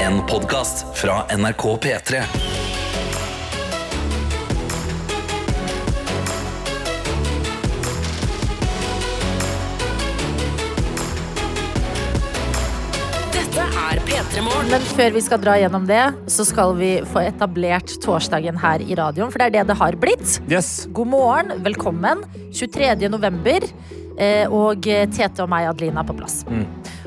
En podcast fra NRK P3 Dette er P3 Morgen. Men før vi skal dra gjennom det, så skal vi få etablert torsdagen her i radioen. For det er det det har blitt. Yes. God morgen, velkommen. 23. november. eh, Og Tete og meg, Adelina, er på plass.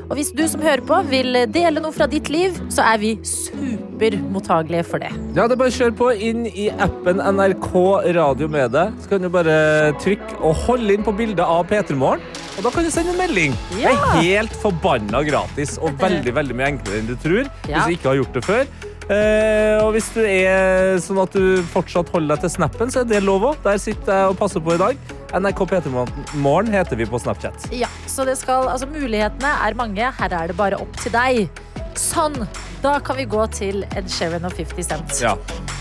Og hvis du som hører på vil dele noe fra ditt liv, så er vi supermottagelige for det. Ja, det er bare å kjøre på inn i appen NRK Radio med deg. Så kan du bare trykke og holde inn på bildet av P3morgen. Og da kan du sende en melding. Ja. Det er helt forbanna gratis og veldig veldig mye enklere enn du tror. Ja. Hvis du ikke har gjort det før. Eh, og hvis du er sånn at du fortsatt holder deg til snappen, så er det lov òg. Der sitter jeg og passer på i dag. NRK P3morgen heter vi på Snapchat. Ja, så det skal, altså Mulighetene er mange. Her er det bare opp til deg. Sånn! Da kan vi gå til Ed Sheeran og 50 Cent. Ja.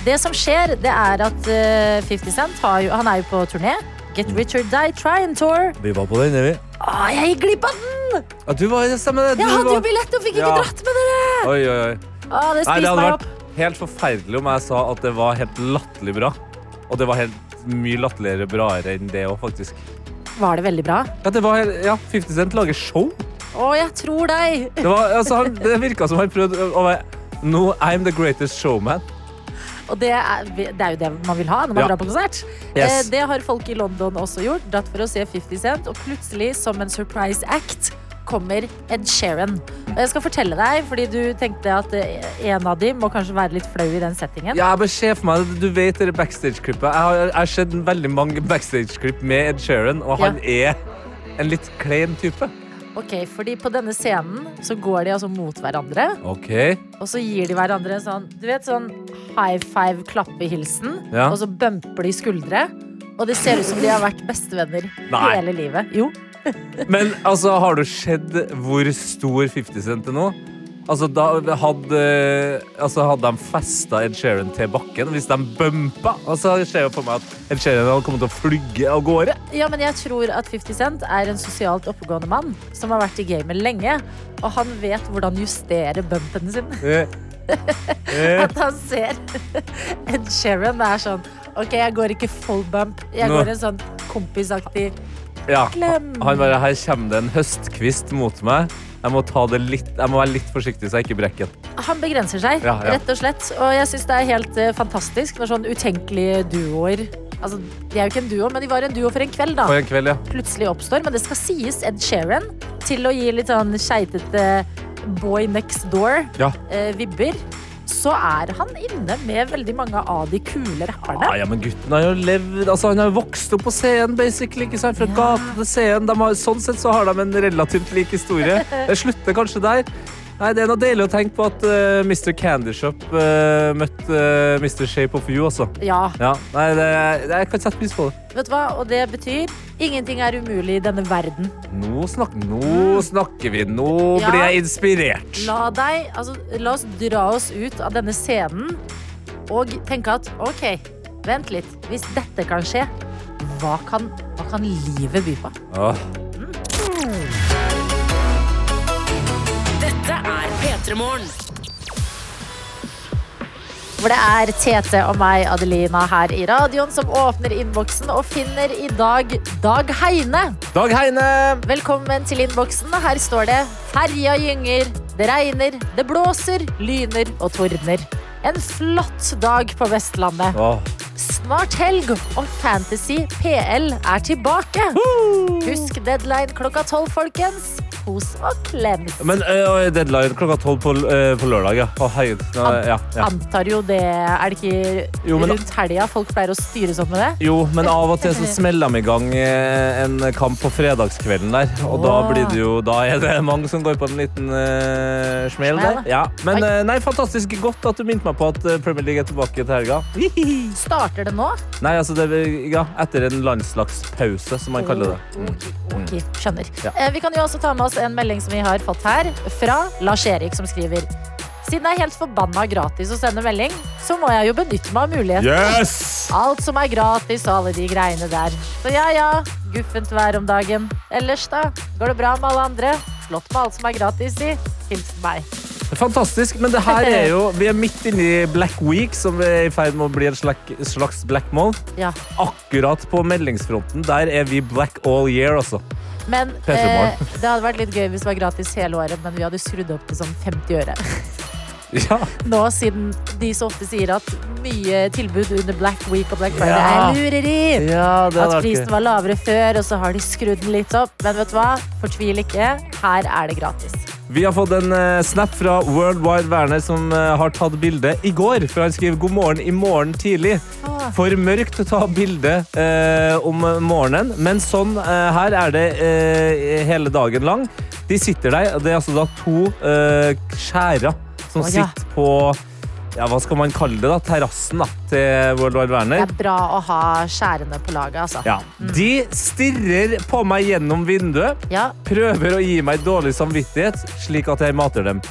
Det som skjer, det er at eh, 50 Cent har jo, han er jo på turné. Get Richard Die Try and Tour. Vi var på den, vi. Ah, Å, jeg gikk glipp av den! Ja, du var, stemmer det. Du Jeg hadde jo var- billett og fikk ikke Ja. dratt med dere! Oi, oi, Å, oi. det Nei, det spiste hadde meg vært opp. helt forferdelig om jeg sa at det var helt latterlig bra. Og det var helt mye latterligere braere enn det òg, faktisk. Var det veldig bra? Ja, det var helt, ja, 50 Cent lager show. Å, jeg tror deg! Det, var, altså, han, det virka som han prøvde å være No, I'm the greatest showman. Og det er, det er jo det man vil ha når man Ja. drar på konsert. Yes. Eh, Det har folk i London også gjort. Dratt for å se 50 Cent, og plutselig, som en surprise act, kommer Ed Sheeran. Og jeg skal fortelle deg, fordi du tenkte at eh, en av de må kanskje være litt flau i den settingen. Ja, jeg bare ser for meg det. Du vet det backstage-klippet. Jeg har, jeg har sett veldig mange backstage-klipp med Ed Sheeran, og han er en litt klein type. Ok, fordi på denne scenen så går de altså mot hverandre, OK. og så gir de hverandre en sånn, du vet, sånn high five-klappehilsen, Ja. og så bumper de skuldre, og det ser ut som de har vært bestevenner Nei. hele livet. Jo. Men altså, har du sett hvor stor 50 Cent er nå? Altså, da hadde, altså, hadde de festa Ed Sheeran til bakken hvis de bumpa. Altså, det skjer jo for meg at Ed Sheeran hadde kommet til å flygge av gårde. Ja, men jeg tror at 50 Cent er en sosialt oppegående mann som har vært i gamet lenge. Og han vet hvordan justere bumpen sin. Eh, eh, At han ser Ed Sheeran er sånn OK, jeg går ikke full bump. Jeg Nå. går en sånn kompisaktig ja. klem. Han bare Her kommer det en høstkvist mot meg. Jeg må, ta det litt, jeg må være litt forsiktig så jeg ikke brekker den. Han begrenser seg, Ja, ja. rett og slett. Og jeg syns det er helt eh, fantastisk når sånn utenkelige duoer Altså, de er jo ikke en duo, men de var en duo for en kveld, da. For en kveld, ja. plutselig oppstår. Men det skal sies Ed Sheeran til å gi litt sånn skeitete boy next door-vibber. Ja. Så er han inne med veldig mange av de kule rapperne. Ja, ja, men gutten har jo levd altså, Han har jo vokst opp på scenen, basically. Ikke sant? Fra Ja. gata til scenen. De har, sånn sett så har de en relativt lik historie. Det slutter kanskje der. Nei, Det er noe deilig å tenke på at eh, Mr. Candy Shop eh, møtte eh, Mr. Shape of You, altså. Ja, Ja, nei, det, det, Jeg kan sette pris på det. vet du hva? Og det betyr ingenting er umulig i denne verden. Nå, snak, nå snakker vi! Nå Ja. blir jeg inspirert. La deg, altså, la oss dra oss ut av denne scenen og tenke at OK, vent litt. Hvis dette kan skje, hva kan, hva kan livet by på? Åh. Dette er P3 Morgen. Hvor det er Tete og meg, Adelina, her i radioen som åpner innboksen og finner i dag Dag Heine. Dag Heine! Velkommen til innboksen. Her står det Ferja gynger, det regner, det blåser, lyner og tordner. En flott dag på Vestlandet. Åh. Snart helg, og Fantasy PL er tilbake. Husk deadline klokka tolv, folkens. Kos og klems. Men øh, deadline klokka tolv på, øh, på lørdag, ja. Å, herregud. Nå, An- ja, ja. Antar jo det Er det ikke Jo, men- rundt helga folk pleier å styre sånn med det? Jo, men av og til så smeller de i gang eh, en kamp på fredagskvelden der. Og da Åh. blir det jo Da er det mange som går på en liten eh, smell der. Smell. Ja. Men Oi. eh, nei, fantastisk godt at du minte meg på at eh, Premier League er tilbake til helga. Starter det nå? Nei, altså det Ja, etter en landslagspause, som man kaller det. Mm. Ok, skjønner. Ja. Eh, Vi kan jo også ta med oss en melding som vi har fått her, fra Lars-Erik, som skriver Siden det er helt forbanna gratis å sende melding, så må jeg jo benytte meg av muligheten. Yes! Alt som er gratis og alle de greiene der. Så ja, ja, guffent vær om dagen. Ellers, da? Går det bra med alle andre? Flott med alt som er gratis, si. Hilsen meg. Fantastisk. Men det her er jo Vi er midt inne i Black Week, som er i ferd med å bli en slak- slags Black Month. Ja. Akkurat på meldingsfronten, der er vi black all year, altså. Men eh, P3-morgen. det hadde vært litt gøy hvis det var gratis hele året, men vi hadde skrudd opp til sånn 50 øre. Ja. Nå siden de så ofte sier at mye tilbud under Black Week og Black Friday Ja. er lureri. Ja, At det hadde vært prisen gøy. var lavere før, og så har de skrudd den litt opp. Men vet du hva? Fortvil ikke. Her er det gratis. Vi har fått en eh, snap fra World Wide Werner, som eh, har tatt bilde i går. For han skriver 'God morgen i morgen tidlig'. Ah. For mørkt å ta bilde eh, om morgenen. Men sånn eh, her er det eh, hele dagen lang. De sitter der. og Det er altså da to eh, skjærer som Å, ja. sitter på ja, Hva skal man kalle det? da? Terrassen da, til World Wide Det Werner. er bra å ha skjærene på laget, altså. Ja. De stirrer på meg gjennom vinduet. Ja, prøver å gi meg dårlig samvittighet, slik at jeg mater dem.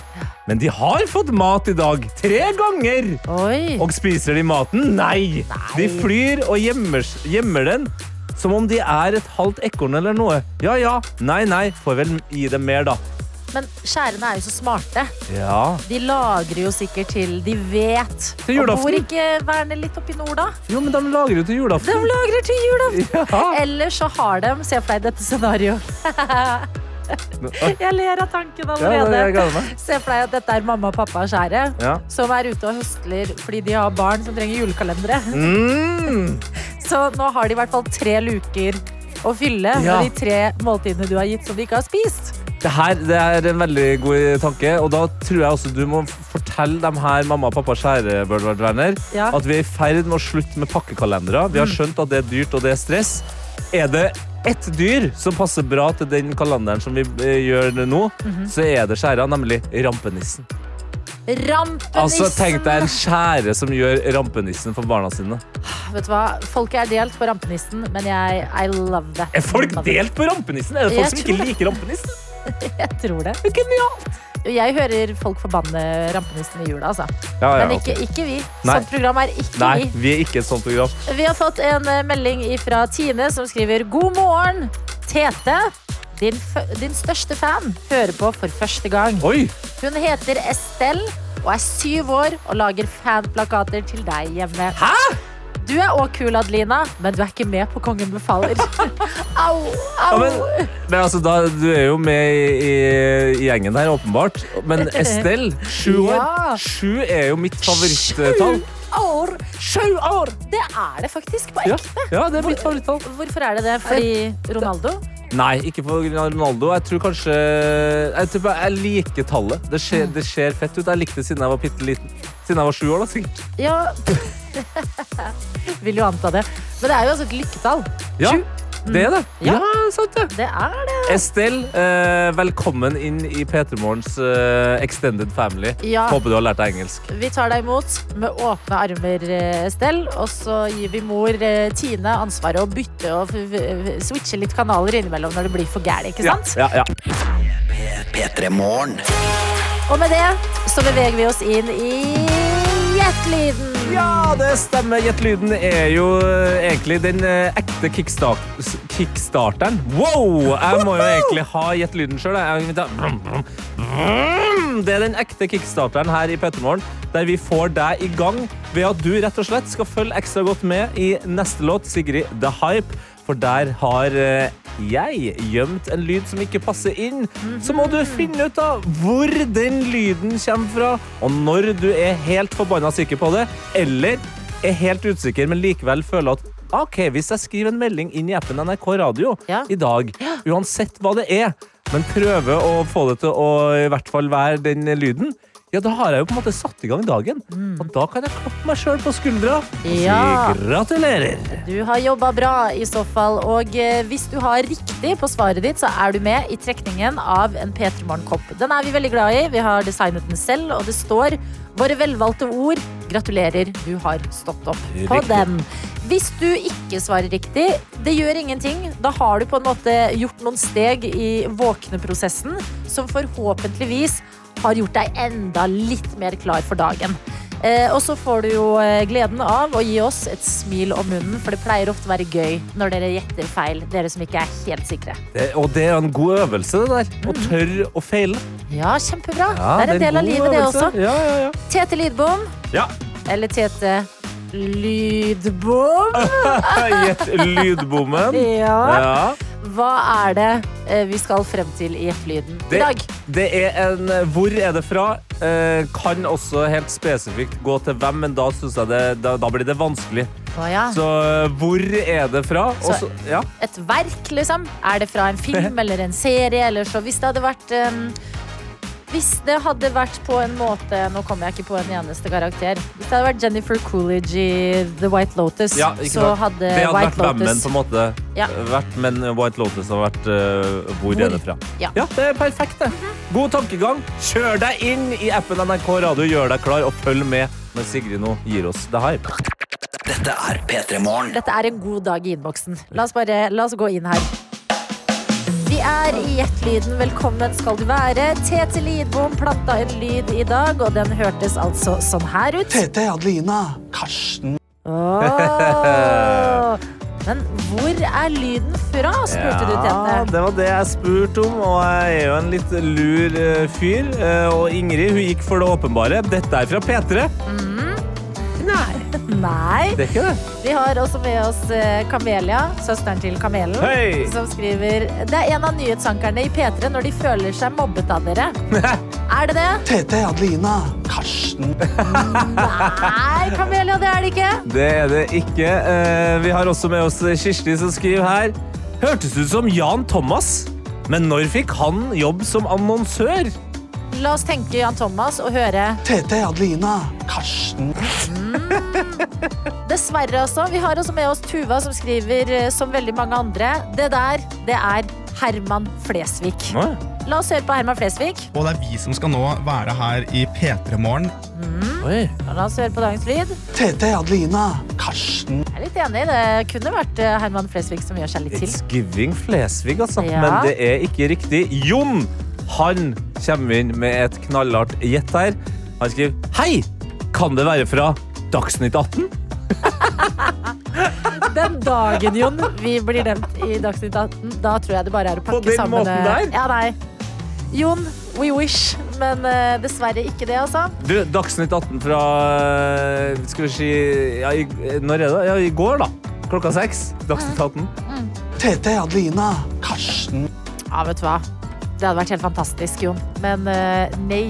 Men de har fått mat i dag, tre ganger! Oi. Og spiser de maten? Nei! De flyr og gjemmer, gjemmer den. Som om de er et halvt ekorn eller noe. Ja ja, nei nei, får vel gi dem mer, da. Men skjærene er jo så smarte. Ja. De lagrer jo sikkert til de vet. Til Og julaften. bor ikke Werner litt oppi nord, da? Jo, men de lager jo til De julaften. lagrer til julaften! Ja. Eller så har de Se for deg dette scenarioet. Jeg ler av tanken Ja, jeg allerede. gleder meg. Se for deg at dette er mamma og pappa av skjæret. Ja. Som er ute og høstler fordi de har barn som trenger julekalendere. Mm. Så nå har de i hvert fall tre luker å fylle Ja. med de tre måltidene du har gitt som de ikke har spist. Det her det er en veldig god tanke, og da tror jeg også du må fortelle dem her, mamma og pappa kjære Bernhard Werner, Ja. Mm. at vi er i ferd med å slutte med pakkekalendere. Vi har skjønt at det er dyrt og det er stress. Er det ett dyr som passer bra til den kalenderen som vi eh, gjør nå, Mhm. så er det skjæra, nemlig rampenissen. Rampenissen! Altså, tenk deg en skjære som gjør rampenissen for barna sine. Vet du hva? Folket er delt på rampenissen, men jeg I love that. Er folk delt på rampenissen? Er det folk Mm. Jeg som tror ikke liker rampenissen? Jeg tror det. Genialt! Jeg hører folk forbanne rampenissen i jula, altså. Ja, ja, Men ok. ikke, ikke vi. Nei. Sånt program er ikke Nei, vi. vi er ikke et sånt program. Vi har fått en eh, melding fra Tine som skriver God morgen, Tete. Din, f din største fan hører på for første gang. Oi! Hun heter Estelle og er syv år og lager fanplakater til deg hjemme. Hæ? Du er òg kul, Adelina, men du er ikke med på Kongen befaler. au, au. Ja, men, men altså, da, du er jo med i, i gjengen her, åpenbart. Men Estelle, sju år. Ja. Sju er jo mitt Sju favorittall. år! Sju år! Det er det faktisk på Ja, ekte. ja, det er mitt favorittall. Eh, Hvorfor er det det? Fordi Ronaldo? Nei, ikke på grunn av Ronaldo. Jeg tror kanskje Jeg, tror bare, jeg liker tallet. Det Mm. ser, det ser fett ut. Jeg likte det siden jeg var bitte liten. Siden jeg var sju år, da, sikkert. Ja Vil jo anta det. Men det er jo altså et lykketall. Ja, det er det. Ja. sant det. Det er det. Estelle, eh, velkommen inn i P3 Morgens eh, extended family. Ja. Håper du har lært deg engelsk. Vi tar deg imot med åpne armer, eh, Estelle. Og så gir vi mor eh, Tine ansvaret å bytte og f- f- switche litt kanaler innimellom når det blir for gærent, ikke sant? Ja, ja, ja. P3 Morgen. Og med det så beveger vi oss inn i hjertelyden. Ja, det stemmer. Gjett lyden er jo eh, egentlig den eh, ekte kickstart s- kickstarteren. Wow! Jeg må jo egentlig ha gjett lyden sjøl. Mm, Det er den ekte kickstarteren her i Pettermorgen, der vi får deg i gang ved at du rett og slett skal følge ekstra godt med i neste låt, Sigrid The Hype. For der har eh, jeg gjemt en lyd som ikke passer inn. Så må du finne ut av hvor den lyden kommer fra, og når du er helt forbanna sikker på det, eller er helt usikker, men likevel føler at OK, hvis jeg skriver en melding inn i appen NRK Radio Ja. i dag, uansett hva det er, men prøver å få det til å i hvert fall være den lyden, ja, da har jeg jo på en måte satt i gang dagen. Og da kan jeg klappe meg sjøl på skuldra og Mm. si Ja. gratulerer. Du har jobba bra i så fall. Og eh, hvis du har riktig på svaret ditt, så er du med i trekningen av en P3 Morgen-kopp. Den er vi veldig glad i. Vi har designet den selv, og det står våre velvalgte ord. Gratulerer, du har stått opp på Riktig. den. Hvis du ikke svarer riktig, det gjør ingenting. Da har du på en måte gjort noen steg i våkneprosessen som forhåpentligvis har gjort deg enda litt mer klar for dagen. Eh, og så får du jo eh, gleden av å gi oss et smil om munnen, for det pleier ofte å være gøy når dere gjetter feil, dere som ikke er helt sikre. Det, og det er en god øvelse, det der. Å tørre å feile. Ja, kjempebra. Ja, det Mm. er en del av god livet, det øvelse. også. Ja, ja, ja. Tete Lidbom, Ja. eller Tete Lydbom, Gjett lydbommen. ja. Ja. hva er det eh, vi skal frem til i Gjettelyden i Det, dag? det er en Hvor er det fra? Eh, kan også helt spesifikt gå til hvem, men da, synes jeg det, da, da blir det vanskelig. Å ja. Så eh, hvor er det fra? Og Ah. Så- så- ja. Et verk, liksom? Er det fra en film eller en serie? Eller så? Hvis det hadde vært em, Hvis det hadde vært på en måte Nå kommer jeg ikke på en eneste karakter. Hvis det hadde vært Jennifer Coolidge i The White Lotus, Ja, ikke så sant. hadde, Det hadde vært White Bammen, Lotus på en måte. Ja. Vært, men White Lotus har vært eh, hvor, Hvor? er det fra? Ja. Mhm. det er perfekt, det. God tankegang. Kjør deg inn i appen NRK Radio, gjør deg klar, og følg med når Sigrid nå gir oss det her. Dette er P3 Morgen. Dette er en god dag i innboksen. La oss bare la oss gå inn her. Vi er i Gjettelyden. Velkommen skal du være. Tete Lidbom planta en lyd i dag, og den hørtes altså sånn her ut. Tete, Adelina, Karsten Åh. Men hvor er lyden fra, spurte du Ja, Tete. det var det jeg spurte om, og jeg er jo en litt lur eh, fyr. Eh, Og Ingrid hun gikk for det åpenbare. Dette er fra P3. Nei. Det er ikke det? Vi har også med oss eh, Kamelia, søsteren til Kamelen, Hei! som skriver Det er en av nyhetsankerne i P3 når de føler seg mobbet av dere. er det det? Tete, Adelina, Karsten Nei, Kamelia, det er det ikke. Det er det ikke. Eh, Vi har også med oss Kirsti, som skriver her. Hørtes ut som Jan Thomas, men når fikk han jobb som annonsør? La oss tenke Jan Thomas og høre. Tete, Adelina, Karsten Dessverre også. Vi har også med oss Tuva, som skriver eh, som veldig mange andre. Det der, det er Herman Flesvig. Å, La oss høre på Herman Flesvig. Og det er vi som skal nå være her i P3 Morgen. Oi. Og La oss høre på dagens lyd. Tete, Adelina, Karsten Jeg er litt enig. Det kunne vært eh, Herman Flesvig som gjør seg litt til. It's giving Flesvig, altså. Ja. Men det er ikke riktig. Jon han kommer inn med et knallhardt gjett her. Han skriver Hei! Kan det være fra Dagsnytt 18? Den dagen, Jon, vi blir nevnt i Dagsnytt 18, da tror jeg det bare er å På pakke den sammen måten eh, der? Ja, nei. Jon, we wish, men eh, dessverre ikke det, altså. Du, Dagsnytt 18 fra eh, Skal vi si ja, i, Når er det? Ja, i går, da. Klokka seks. Dagsnytt 18. Tete, Adelina, Karsten Ja, vet du hva. Det hadde vært helt fantastisk, Jon. Men eh, nei.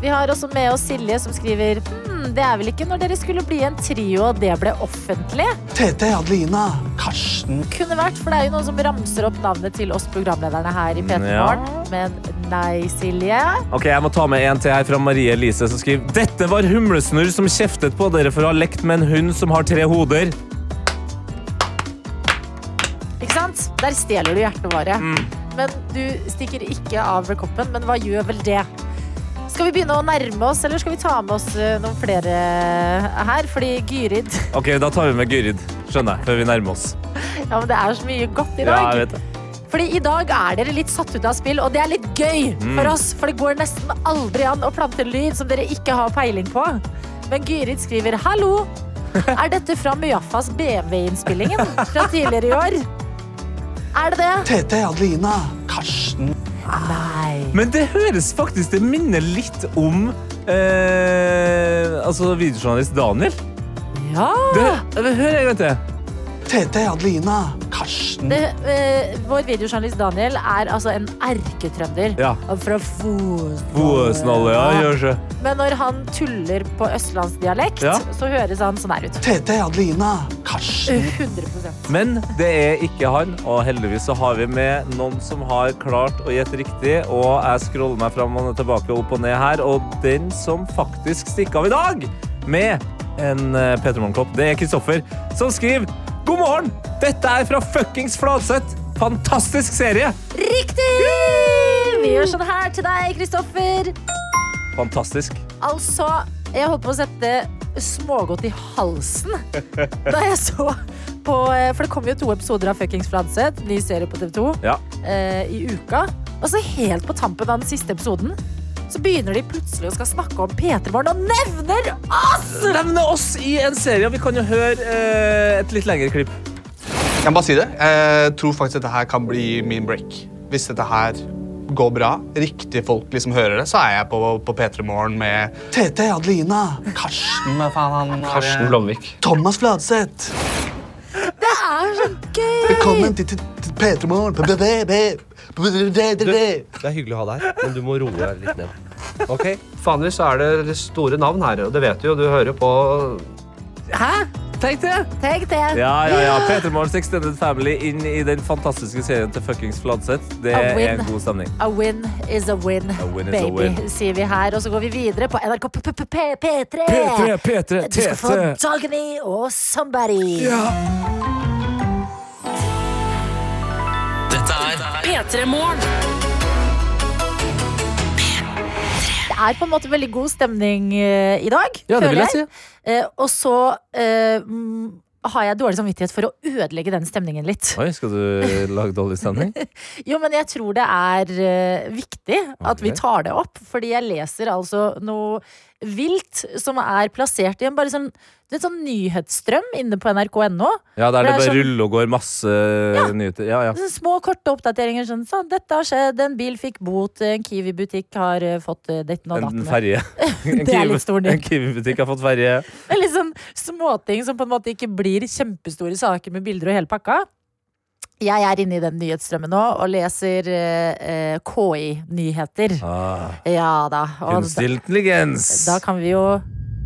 Vi har også med oss Silje, som skriver hm, Det er vel ikke når dere skulle bli en trio og det ble offentlig? Tete, Adelina, Karsten Kunne vært, for det er jo noen som ramser opp navnet til oss programlederne her i P3 Ja. Morgen. Men nei, Silje. Ok, Jeg må ta med en til her fra Marie Elise, som skriver Dette var humlesnurr som kjeftet på dere for å ha lekt med en hund som har tre hoder. Ikke sant? Der stjeler du hjertene våre. Mm. Men du stikker ikke av ved koppen. Men hva gjør vel det? Skal vi begynne å nærme oss, eller skal vi ta med oss eh, noen flere eh, her? Fordi Gyrid Ok, Da tar vi med Gyrid, skjønner jeg, før vi nærmer oss. Ja, men det er så mye godt i Ja, dag. jeg vet det. Fordi i dag er dere litt satt ut av spill, og det er litt gøy Mm. for oss. For det går nesten aldri an å plante en lyd som dere ikke har peiling på. Men Gyrid skriver 'hallo'. Er dette fra Mujaffas BMW-innspillingen fra tidligere i år? Er det det? Tete, Adelina, Karsten Nei. Men det høres faktisk Det minner litt om eh, Altså videojournalist Daniel. Ja. Det, det hører jeg en gang til. Tete, Adelina, Karsten Det, eh, vår videojournalist Daniel er altså en erketrønder. Ja. Og Fra Fosnalle. Fosnalle, ja, gjør så. Men når han tuller på østlandsdialekt, Ja. så høres han sånn her ut. Tete, Adelina, Karsten 100 Men det er ikke han, og heldigvis så har vi med noen som har klart å gjette riktig. Og jeg scroller meg fram og tilbake opp og ned her, og den som faktisk stikker av i dag med en eh, Peter Morgenkopp, det er Kristoffer, som skriver God morgen! Dette er fra fuckings Fladseth! Fantastisk serie! Riktig! Vi gjør sånn her til deg, Kristoffer. Fantastisk. Altså, jeg holdt på å sette smågodt i halsen da jeg så på eh, For det kom jo to episoder av Fuckings Fladseth, ny serie på TV 2, Ja. eh, i uka. Og så helt på tampen av den siste episoden så begynner de plutselig å skal snakke om P3 Morgen og nevner oss! Nevne oss i en serie. og Vi kan jo høre eh, et litt lengre klipp. Jeg må bare si det. Jeg tror faktisk dette her kan bli min break. Hvis dette her går bra, riktige folk liksom hører det, så er jeg på, på P3 Morgen med Tete, Adelina, Karsten, hva faen han er- Karsten Blomvik. Thomas Fladseth. Det er så gøy! Velkommen til, til, til P3 Morgen. Det er hyggelig å ha deg her, men du må roe deg litt ned. Ok? Vanligvis så er det store navn her, og det vet du jo. Du hører på Hæ? Tenk det! Tenk det. Ja, ja, ja. Peter Morgens Extended Family inn i den fantastiske serien til fuckings Fladseth. Det A win. er en god stemning. A win is a win, A win is a baby, win. sier vi her. Og så går vi videre på NRK P- P- P- P- P3. P3, P3, Du skal få Tete. Dogny og Somebody. Dette er P3 Morgen. Det er på en måte veldig god stemning eh, i dag. Ja, det føler vil jeg si. Eh, og så eh, mm, har jeg dårlig samvittighet for å ødelegge den stemningen litt. Oi, skal du lage dårlig stemning? Jo, men jeg tror det er eh, viktig at vi Ok. tar det opp, fordi jeg leser altså noe vilt som er plassert i en bare sånn, det er en sånn nyhetsstrøm inne på nrk.no. Ja, der Det det er bare sånn- ruller og går masse eh, nyheter. Ja, ja. Sånn små, korte oppdateringer. Sånn, sånn, 'Dette har skjedd, en bil fikk bot, en Kiwi-butikk har eh, fått eh, ditten og En datten'. ferje. En Det er litt Kiwi- stor nyhet. En Kiwi-butikk har fått ferje. Det er litt sånn småting som på en måte ikke blir kjempestore saker med bilder og hele pakka. Jeg er inne i den nyhetsstrømmen nå og leser eh, eh, KI-nyheter. Ah, Ja da. Og da, kunstig intelligens. da kan vi jo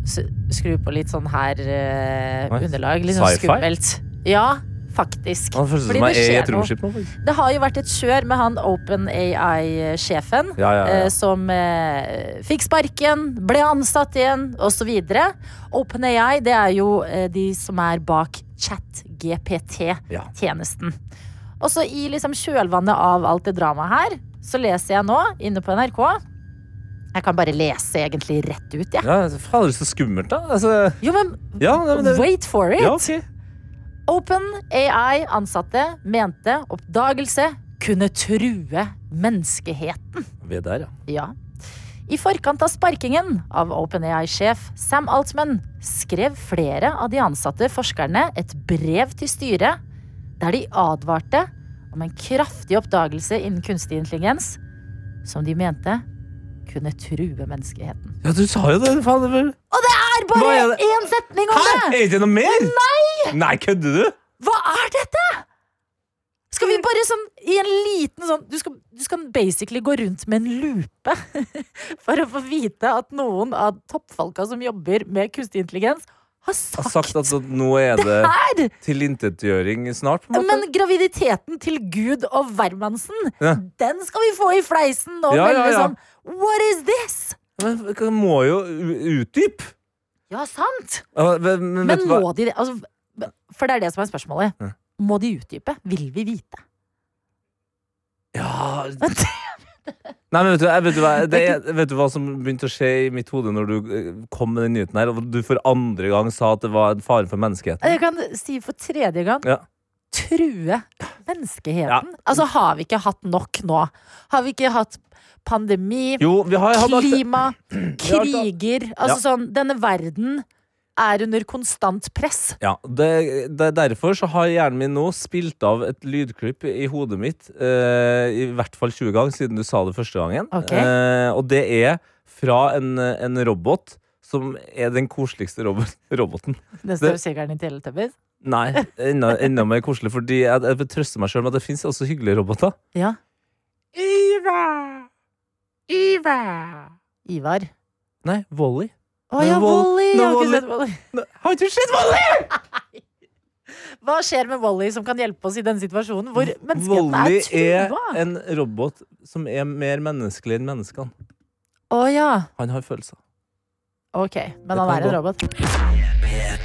s- skru på litt sånn her eh, Oi, underlag. Litt sånn sci-fi? skummelt. Ja, faktisk. Han føles Fordi som jeg det er i et skjer noe. romskip nå. faktisk. Det har jo vært et kjør med han OpenAI-sjefen. Ja, ja, ja. eh, som eh, fikk sparken, ble ansatt igjen, osv. OpenAI det er jo eh, de som er bak Ja. ChatGPT-tjenesten. Og så i liksom kjølvannet av alt det dramaet her, så leser jeg nå inne på NRK Jeg kan bare lese egentlig rett ut, jeg. Ja, fader, så skummelt, da. Altså, Jo, men ja, nei, men det, wait for it! ja, ok. OpenAI-ansatte mente oppdagelse kunne true menneskehet. Vi er der, ja. Ja. I forkant av sparkingen av OpenAI-sjef Sam Altman skrev flere av de ansatte forskerne et brev til styret der de advarte om en kraftig oppdagelse innen kunstig intelligens som de mente kunne true menneskeheten. Ja, du sa jo det, fader. vel. Det er Hva er bare det? én setning om Hæ? det! Er det ikke noe mer? Nei! Nei, kødder du? Hva er dette?! Skal vi bare sånn i en liten sånn Du skal, du skal basically gå rundt med en lupe for å få vite at noen av toppfolka som jobber med kunstig intelligens, har Jeg sagt, har sagt at at nå er det her! tilintetgjøring snart. på en måte. Men graviditeten til Gud og hvermannsen, Ja. den skal vi få i fleisen og Ja, ja, melde ja. som What is this?! Men vi må jo u- utdype. Ja, sant! Ja, Men, men, vet Men du hva? må de det? Altså, for det er det som er spørsmålet. Ja. Må de utdype? Vil vi vite? Ja Nei, men vet du, jeg vet, du hva, det er, vet du hva som begynte å skje i mitt hode når du eh, kom med den nyheten her, og du for andre gang sa at det var en fare for menneskeheten? Jeg kan si for tredje gang Ja. true Ja. menneskeheten. Altså, har vi ikke hatt nok nå? Har vi ikke hatt pandemi, Jo, vi har hatt alt klima, har hatt alt- kriger Altså sånn, denne verden er under konstant press. ja, det, det, er Derfor så har hjernen min nå spilt av et lydklipp i hodet mitt eh, i hvert fall 20 ganger siden du sa det første gangen. Ok. Eh, og det er fra en, en robot som er den koseligste robot, roboten. Det Det- står sikkert i Teletubbies. Nei, enda, enda mer koselig, fordi jeg, jeg vil trøste meg sjøl med at det fins også hyggelige roboter. Ja. Ivar. Ivar. Nei, Volley. Å Men ja, Wall- Wally! men Jeg har ikke Wall-E- sett Wall-E. Har du sett Volley?! Hva skjer med Wally som kan hjelpe oss i denne situasjonen hvor menneskeheten Volley er er trua? en robot som er mer menneskelig enn menneskene. Å ja. Han har følelser. Ok, men han kan er en gå. robot.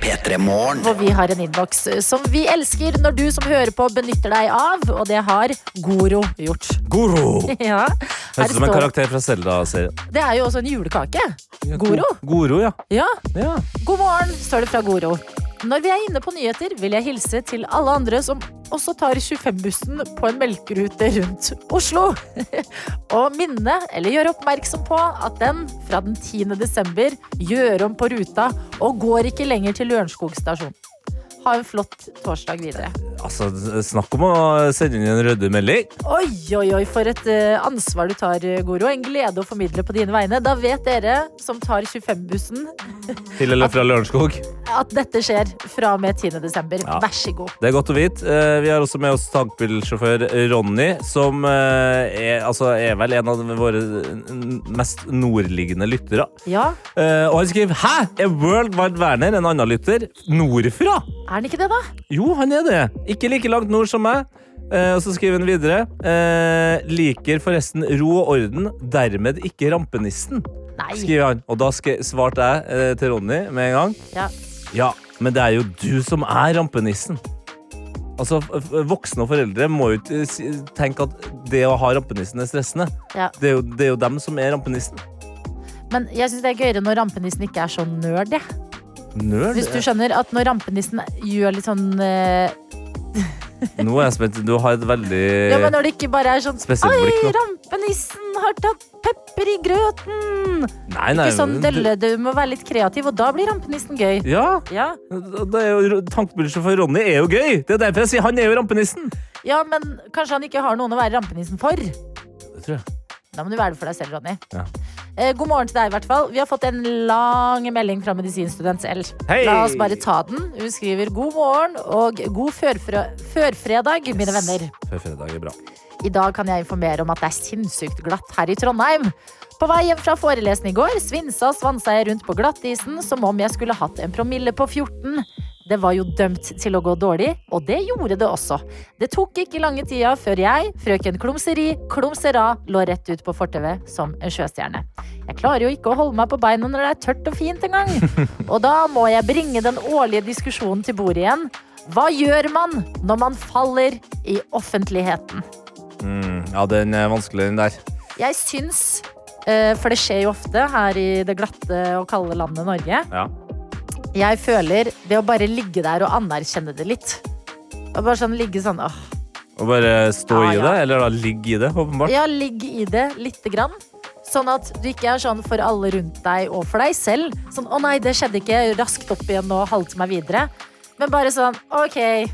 P3 Morgen. hvor vi har en innboks som vi elsker når du som hører på benytter deg av, og det har Goro gjort. Goro! Ja, her Høres ut som en står- karakter fra Selda-serien. Det er jo også en julekake. Ja, Goro? Goro, ja. Ja. ja. God morgen, står det fra Goro. Når vi er inne på nyheter, vil jeg hilse til alle andre som også tar 25-bussen på en melkerute rundt Oslo. og minne, eller gjøre oppmerksom på, at den fra den 10. desember gjør om på ruta og går ikke lenger til Lørenskog stasjon. Ha en flott torsdag videre. Altså, snakk om å sende inn en rødde melding. Oi, oi, oi, for et eh, ansvar du tar, eh, Goro. En glede å formidle på dine vegne. Da vet dere som tar 25-bussen, Til eller fra Lørenskog. at dette skjer fra og med 10. desember. Ja. Vær så god. Det er godt å vite. Eh, Vi har også med oss tankbilsjåfør Ronny, som eh, er, altså, er vel en av våre n- mest nordliggende lyttere. Ja, Eh, Og han skriver 'Hæ? Er World Wide Werner en annen lytter nordfra?' er den ikke det, da? Jo, han er det. Ikke like langt nord som meg. Eh, og så skriver han videre. Eh, liker forresten ro og orden, dermed ikke rampenissen, Nei. skriver han. Og da sk- svarte jeg eh, til Ronny med en gang. Ja. Ja, men det er jo du som er rampenissen. Altså, f- f- Voksne og foreldre må jo ikke si- tenke at det å ha rampenissen er stressende. Ja. Det er jo, det er jo dem som er rampenissen. Men jeg syns det er gøyere når rampenissen ikke er så nerd. jeg. Nerd. Hvis du skjønner at når rampenissen gjør litt sånn eh, Nå er jeg spent. Du har et veldig Ja, men når det ikke bare er sånn Eh, Spesielt Oi, blikk nå. rampenissen har tatt pepper i grøten! Nei, nei, Ikke sånn men du- dølle, du må være litt kreativ, og da blir rampenissen gøy. Ja, Ja, Det er jo, tankbilsjåfør Ronny er jo gøy! Det er derfor jeg sier han er jo rampenissen. ja men kanskje han ikke har noen å være rampenissen for. Det tror jeg. Da må du være det for deg selv, Ronny. Ja. Eh, god morgen til deg, i hvert fall. Vi har fått en lang melding fra medisinstudent L. Hei! La oss bare ta den. Hun skriver god morgen og god førfrø førfredag, mine venner. Før fredag er bra. I dag kan jeg informere om at det er sinnssykt glatt her i Trondheim. På vei hjem fra forelesning i går svinsa og svansa jeg rundt på glattisen som om jeg skulle hatt en promille på 14. Det var jo dømt til å gå dårlig, og det gjorde det også. Det tok ikke lange tida før jeg, frøken Klumseri, Klumsera, lå rett ut på fortauet som en sjøstjerne. Jeg klarer jo ikke å holde meg på beina når det er tørt og fint engang. Og da må jeg bringe den årlige diskusjonen til bordet igjen. Hva gjør man når man faller i offentligheten? Mm, ja, den er vanskelig, den der. Jeg syns, eh, for det skjer jo ofte her i det glatte og kalde landet Norge Ja. Jeg føler det å bare ligge der og anerkjenne det litt. Og bare sånn ligge sånn åh. Å bare stå Ja, i ja. det, eller da ligge i det, åpenbart. Ja, ligg i det lite grann. Sånn at du ikke er sånn for alle rundt deg og for deg selv. Sånn 'Å nei, det skjedde ikke. Raskt opp igjen og halte meg videre.' Men bare sånn 'OK.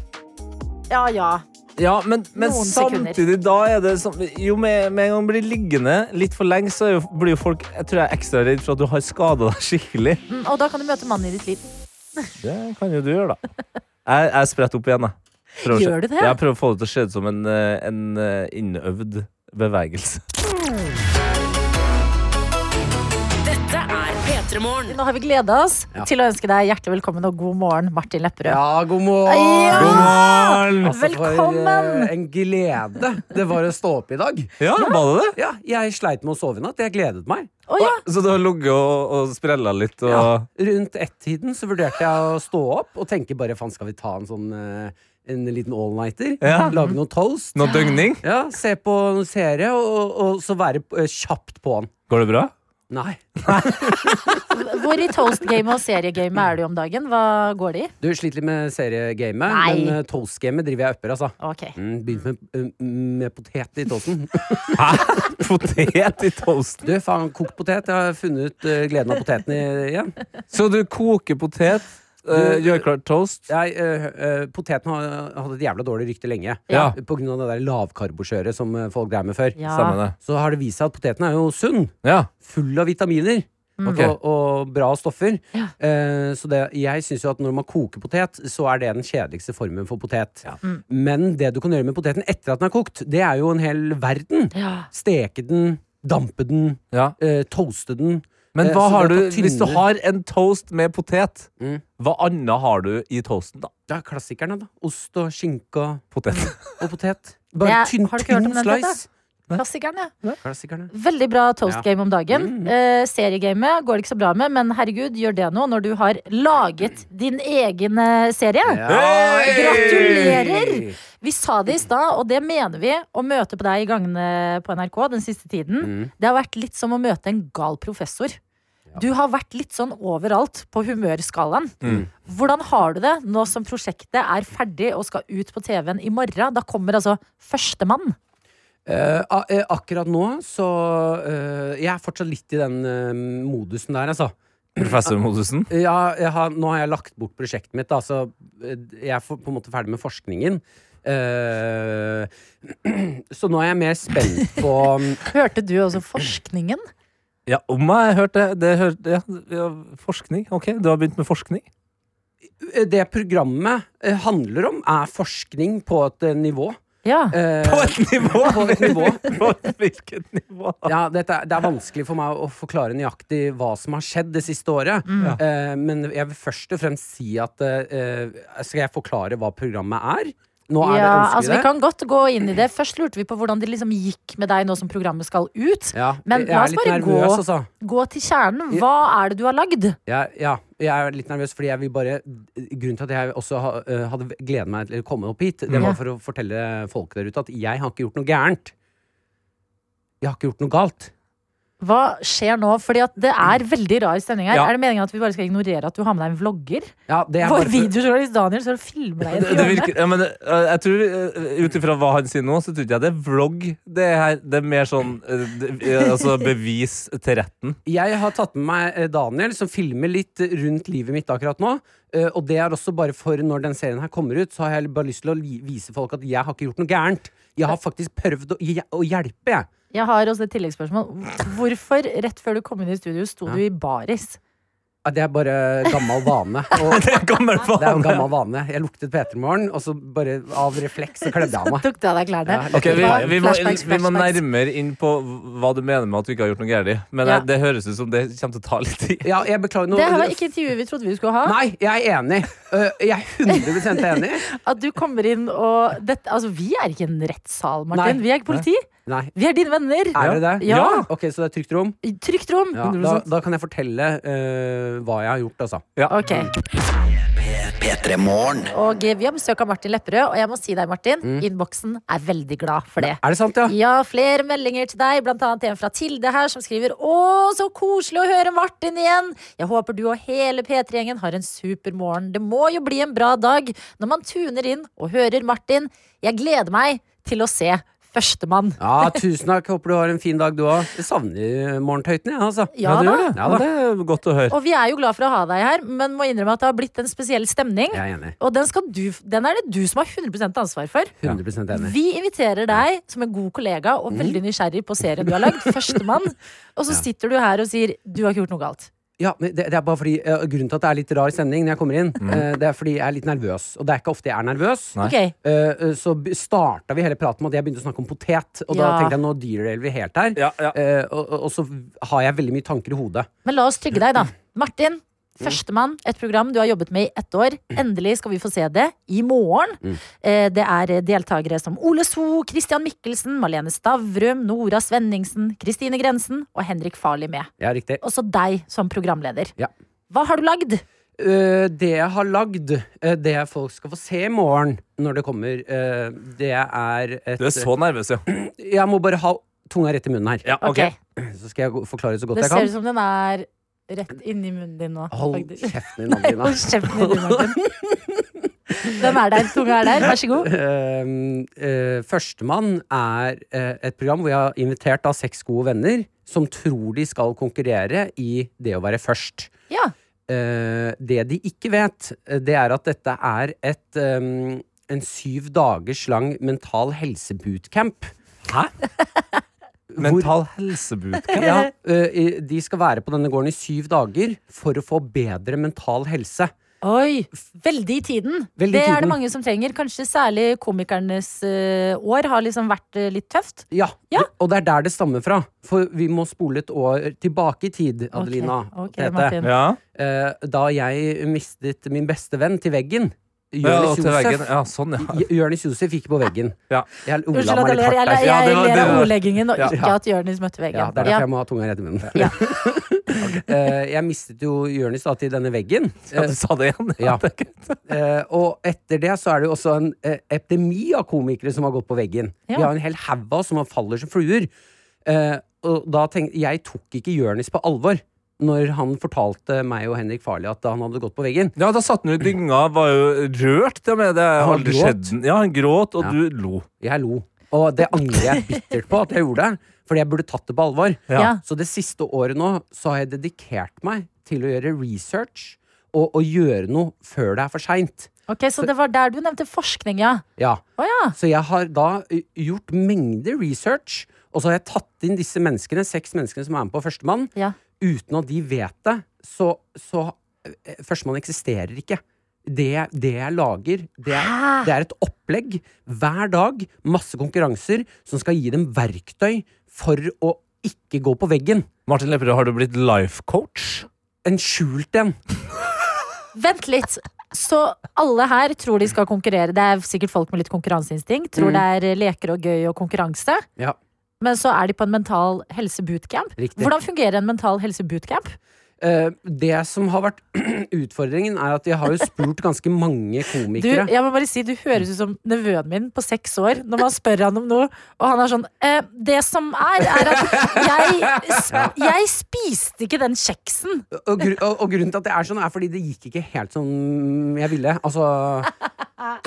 Ja, ja. Ja, men, men Noen sekunder. samtidig, da er det sånn Jo, med, med en gang du blir liggende litt for lenge, så er jo, blir jo folk Jeg tror jeg er ekstra redd for at du har skada deg skikkelig. Mm, og da kan du møte mannen i ditt liv. Det kan jo du gjøre, da. Jeg, jeg spretter opp igjen, jeg. Prøver å Gjør se- du det? Jeg prøver å få det til å se ut som en, eh, en eh, innøvd bevegelse. Dette er P3 Morgen. Nå har vi gleda oss til å ønske deg hjertelig velkommen og god morgen, Martin Lepperød. Ja, god morgen! Ja! God morgen! Altså, For, Velkommen! eh, en glede det var å stå opp i dag. Ja, var det det? Ja, Jeg sleit med å sove i natt. Jeg gledet meg. Å ja. Så du har ligget og, og sprella litt og Ja, rundt ett-tiden så vurderte jeg å stå opp og tenke bare faen, skal vi ta en sånn eh, en liten all-nighter? Ja. Lage noe toast? noe døgning? Ja, Se på noen serie, og, og så være eh, kjapt på'n. Går det bra? Nei. Hvor i toast-gamet og seriegamet er du om dagen? Hva går det i? Du sliter litt med seriegamet, Nei. men eh, toast-gamet driver jeg upper, altså. Ok. Mm, Begynt med, eh, med potet i toasten. Hæ? Potet i toasten? Du, faen, kokt potet. Jeg har funnet ut eh, gleden av poteten i- igjen. Så du koker potet, eh, gjør klart toast? Jeg, eh, eh, poteten har hadde et jævla dårlig rykte lenge. Ja. På grunn av det der lavkarbokjøret som eh, folk drev med før. Ja. Stemmer det. Så har det vist seg at poteten er jo sunn. Ja. Full av vitaminer. Ok. Og, og bra stoffer. Eh, så det, jeg syns jo at når man koker potet, så er det den kjedeligste formen for potet. Mm. Men det du kan gjøre med poteten etter at den er kokt, det er jo en hel verden. Ja. Steke den, dampe den, ja. eh, toaste den. Men Eh, hva så har du det er på hvis du tynner. har en toast med potet? Mm. Hva annet har du i toasten, da? Det er klassikerne, da. Ost og skinke og Potet. og potet. Bare Jeg- tynn, har du ikke hørt tynn om den, slice. Klassikeren, ja. Klassikerne. Veldig bra toast-game om dagen. Eh, seriegamet går det ikke så bra med, men herregud, gjør det nå når du har laget din egen eh, serie. Hey! Gratulerer! Vi sa det i stad, og det mener vi. Å møte på deg Mm. i gangene på NRK den siste tiden, det har vært litt som å møte en gal professor. Du har vært litt sånn overalt på humørskalaen. Mm. Hvordan har du det nå som prosjektet er ferdig og skal ut på TV-en i morgen? Da kommer altså førstemann. Eh, a- eh, akkurat nå så eh, Jeg er fortsatt litt i den eh, modusen der, altså. Professormodusen. Ja, jeg har, nå har jeg lagt bort prosjektet mitt, da, så eh, jeg er for- på en måte ferdig med forskningen. Eh, så nå er jeg mer spent på Hørte du også forskningen? Ja, om jeg har hørt det, det hørte, ja, ja, Forskning. Ok, du har begynt med forskning? Det programmet eh, handler om, er forskning på et eh, nivå. Ja. Eh, På et nivå! på et nivå. På hvilket nivå? Ja, dette er, det er vanskelig for meg å forklare nøyaktig hva som har skjedd det siste året. Mm. Eh, men jeg vil først og fremst si at eh, Skal jeg forklare hva programmet er? Nå er det ja ønskelig altså, vi det. kan godt gå inn i det. Først lurte vi på hvordan det liksom gikk med deg nå som programmet skal ut. Ja, Men jeg la er oss litt bare gå- nervøs, altså. Gå til kjernen. Hva er det du har lagd? Jeg, ja, jeg er litt nervøs, fordi jeg vil bare Grunnen til at jeg også ha, eh, hadde gledet meg til å komme opp hit, det Mm. Ja. var for å fortelle folk der ute at jeg har ikke gjort noe gærent. Jeg har ikke gjort noe galt. Hva skjer nå? Fordi at det er veldig rar stemning her. Mm. Ja. Er det meningen at vi bare skal ignorere at du har med deg en vlogger? Ja, det er Vår bare for, videojournalist Daniel står og filmer deg. i et Det, det hjørne. virker, ja, men, eh, jeg tror, eh, Ut ifra hva han sier nå, så tror ikke jeg det er vlogg. Det er, her, det er mer sånn eh, det, eh, altså bevis til retten. jeg har tatt med meg eh, Daniel, som filmer litt rundt livet mitt akkurat nå. eh, Og det er også bare for når den serien her kommer ut, så har jeg bare lyst til å li- vise folk at jeg har ikke gjort noe gærent. Jeg har faktisk prøvd å, hj- å hjelpe, jeg. Jeg har også et tilleggsspørsmål. Hvorfor, rett før du kom inn i studio, sto du i baris? Ja, Det er bare gammel vane. Og Det er gammel det er vane! en gammel vane. Jeg luktet P3morgen, og så bare av refleks så kledde jeg av meg. Tok du av deg klærne? Ja, Ok, vi, vi, må, Flashbacks, vi må flashbacks. nærmere inn på hva du mener med at du ikke har gjort noe gærent. Men Ja. eh, det høres ut som det kommer til å ta litt tid. Ja, jeg beklager nå. Det her var ikke intervjuet vi trodde vi skulle ha. Nei, jeg er enig. Øh, Jeg er 100 enig. At du kommer inn og dette, Altså, vi er ikke en rettssal, Martin. Nei. Vi er ikke politi. Nei, Vi er dine venner. er det det? Ja. Ok, Så det er trygt rom? I trygt rom. Ja, da, da kan jeg fortelle øh, hva jeg har gjort, altså. Ok. P3 Morgen. Og eh, vi har besøk av Martin Lepperød, og jeg må si deg, Martin, innboksen er veldig glad for det. Er det sant, Mm. ja? Ja, flere meldinger til deg, blant annet en fra Tilde her, som skriver Å, så koselig å høre Martin igjen! Jeg håper du og hele P3-gjengen har en super morgen. Det må jo bli en bra dag når man tuner inn og hører Martin. Jeg gleder meg til å se Førstemann. Ja, Tusen takk. Håper du har en fin dag, du òg. Jeg savner morgentøytene, jeg, altså. Ja du da. gjør det. Ja Ja, da. det er godt å høre. Og vi er jo glad for å ha deg her, men må innrømme at det har blitt en spesiell stemning. Jeg er enig. Og den, skal du, den er det du som har 100 ansvar for. 100 enig. Vi inviterer deg som en god kollega og veldig Mm. nysgjerrig på serien du har lagd, Førstemann, og så sitter du her og sier du har ikke gjort noe galt. Ja, men det, det er bare fordi øh, Grunnen til at det er litt rar stemning når jeg kommer inn, øh, det er fordi jeg er litt nervøs. Og det er ikke ofte jeg er nervøs. Mm. Nei. Ok, Eh, eh, så starta vi hele praten med at jeg begynte å snakke om potet. Og da Ja. tenkte jeg nå derailer vi helt her. Ja, ja. Eh, og, og- og så har jeg veldig mye tanker i hodet. Men la oss trygge deg, da. Mm. Martin, Førstemann, et program du har jobbet med i ett år. Endelig skal vi få se det i morgen. Mm. Eh, Det er deltakere som Ole So, Christian Mikkelsen, Malene Stavrum, Nora Svenningsen, Kristine Grensen og Henrik Farli med. Ja, riktig. Også deg som programleder. Ja. Hva har du lagd? Eh, det jeg har lagd, eh, det folk skal få se i morgen når det kommer, eh, det er et Du er så nervøs, ja. Jeg må bare ha tunga rett i munnen her. ja ok. Så skal jeg gå- forklare så godt Det jeg ser ut kan. som den er rett inni munnen din nå. Hold faktisk. kjeften din, Adelina. Hold kjeften din, Martin. Den er der. Tunga er der. Vær så god. Ehm, eh, Førstemann er eh, et program hvor jeg har invitert da seks gode venner som tror de skal konkurrere i det å være først. Ja. Eh, det de ikke vet, eh, det er at dette er et ehm, en syv dagers lang mental helse-bootcamp. Mental helse-bootcamp. Ja, eh, i- de skal være på denne gården i syv dager for å få bedre mental helse. Oi, veldig i tiden. Veldig i det er det tiden. mange som trenger. Kanskje særlig komikernes eh, år har liksom vært eh, litt tøft. Ja, Ja. det- Og det er der det stammer fra. For vi må spole et år tilbake i tid, Adelina. Ok, ok, Tete. Martin. Ja. Eh, da jeg mistet min beste venn til veggen. Ja, og Jonis til veggen. Josef. ja, sånn, ja. J- Jonis Josef gikk på veggen. Ja. Jeg Unnskyld ola at jeg meg litt ler. Jeg, ler- hardt der. Ja, jeg det var- ler det av var- ordleggingen og Ja. ikke at Jonis møtte veggen. Ja, det er derfor Ja. jeg må ha tunga rett i munnen. Ja. Eh, jeg mistet jo Jonis da til denne veggen. ja, du sa det igjen? Ja. det er ikke- Eh, og etter det så er det jo også en eh, epidemi av komikere som har gått på veggen. Ja. Vi har en hel haug av oss som faller som fluer. Eh, og da tenkte jeg tok ikke Jonis på alvor. når han fortalte meg og Henrik Farley at han hadde gått på veggen. Ja, da satt han jo i dynga, var jo rørt til og med. Det har Han aldri gråt. skjedd. den. Ja, han gråt, og Ja. du lo. Jeg lo. Og det angrer jeg bittert på at jeg gjorde, fordi jeg burde tatt det på alvor. Ja. Så det siste året nå så har jeg dedikert meg til å gjøre research og, og gjøre noe før det er for seint. Ok, Så det var der du nevnte forskning, ja. Ja. Å ja. Så jeg har da ø, gjort mengder research, og så har jeg tatt inn disse menneskene, seks menneskene som er med på Førstemann. Ja. Uten at de vet det, så, så ø, Førstemann eksisterer ikke. Det, det jeg lager, det er, det er et opplegg hver dag. Masse konkurranser som skal gi dem verktøy for å ikke gå på veggen. Martin Lepperød, har du blitt life coach? En skjult en. Vent litt. Så alle her tror de skal konkurrere. Det er sikkert folk med litt konkurranseinstinkt. Mm. Tror det er eh, leker og gøy og konkurranse. Ja. Men så er de på en mental helse-bootcamp. Riktig. Hvordan fungerer en mental helse-bootcamp? Eh, det som har vært utfordringen, er at jeg har jo spurt ganske mange Du, komikere. jeg må bare si, du høres ut som nevøen min på seks år når man spør han om noe, og han er sånn eh, Det som er, er at jeg, sp- jeg spiste ikke den kjeksen. og, gru- og, og grunnen til at det er sånn, er fordi det gikk ikke helt som jeg ville. Altså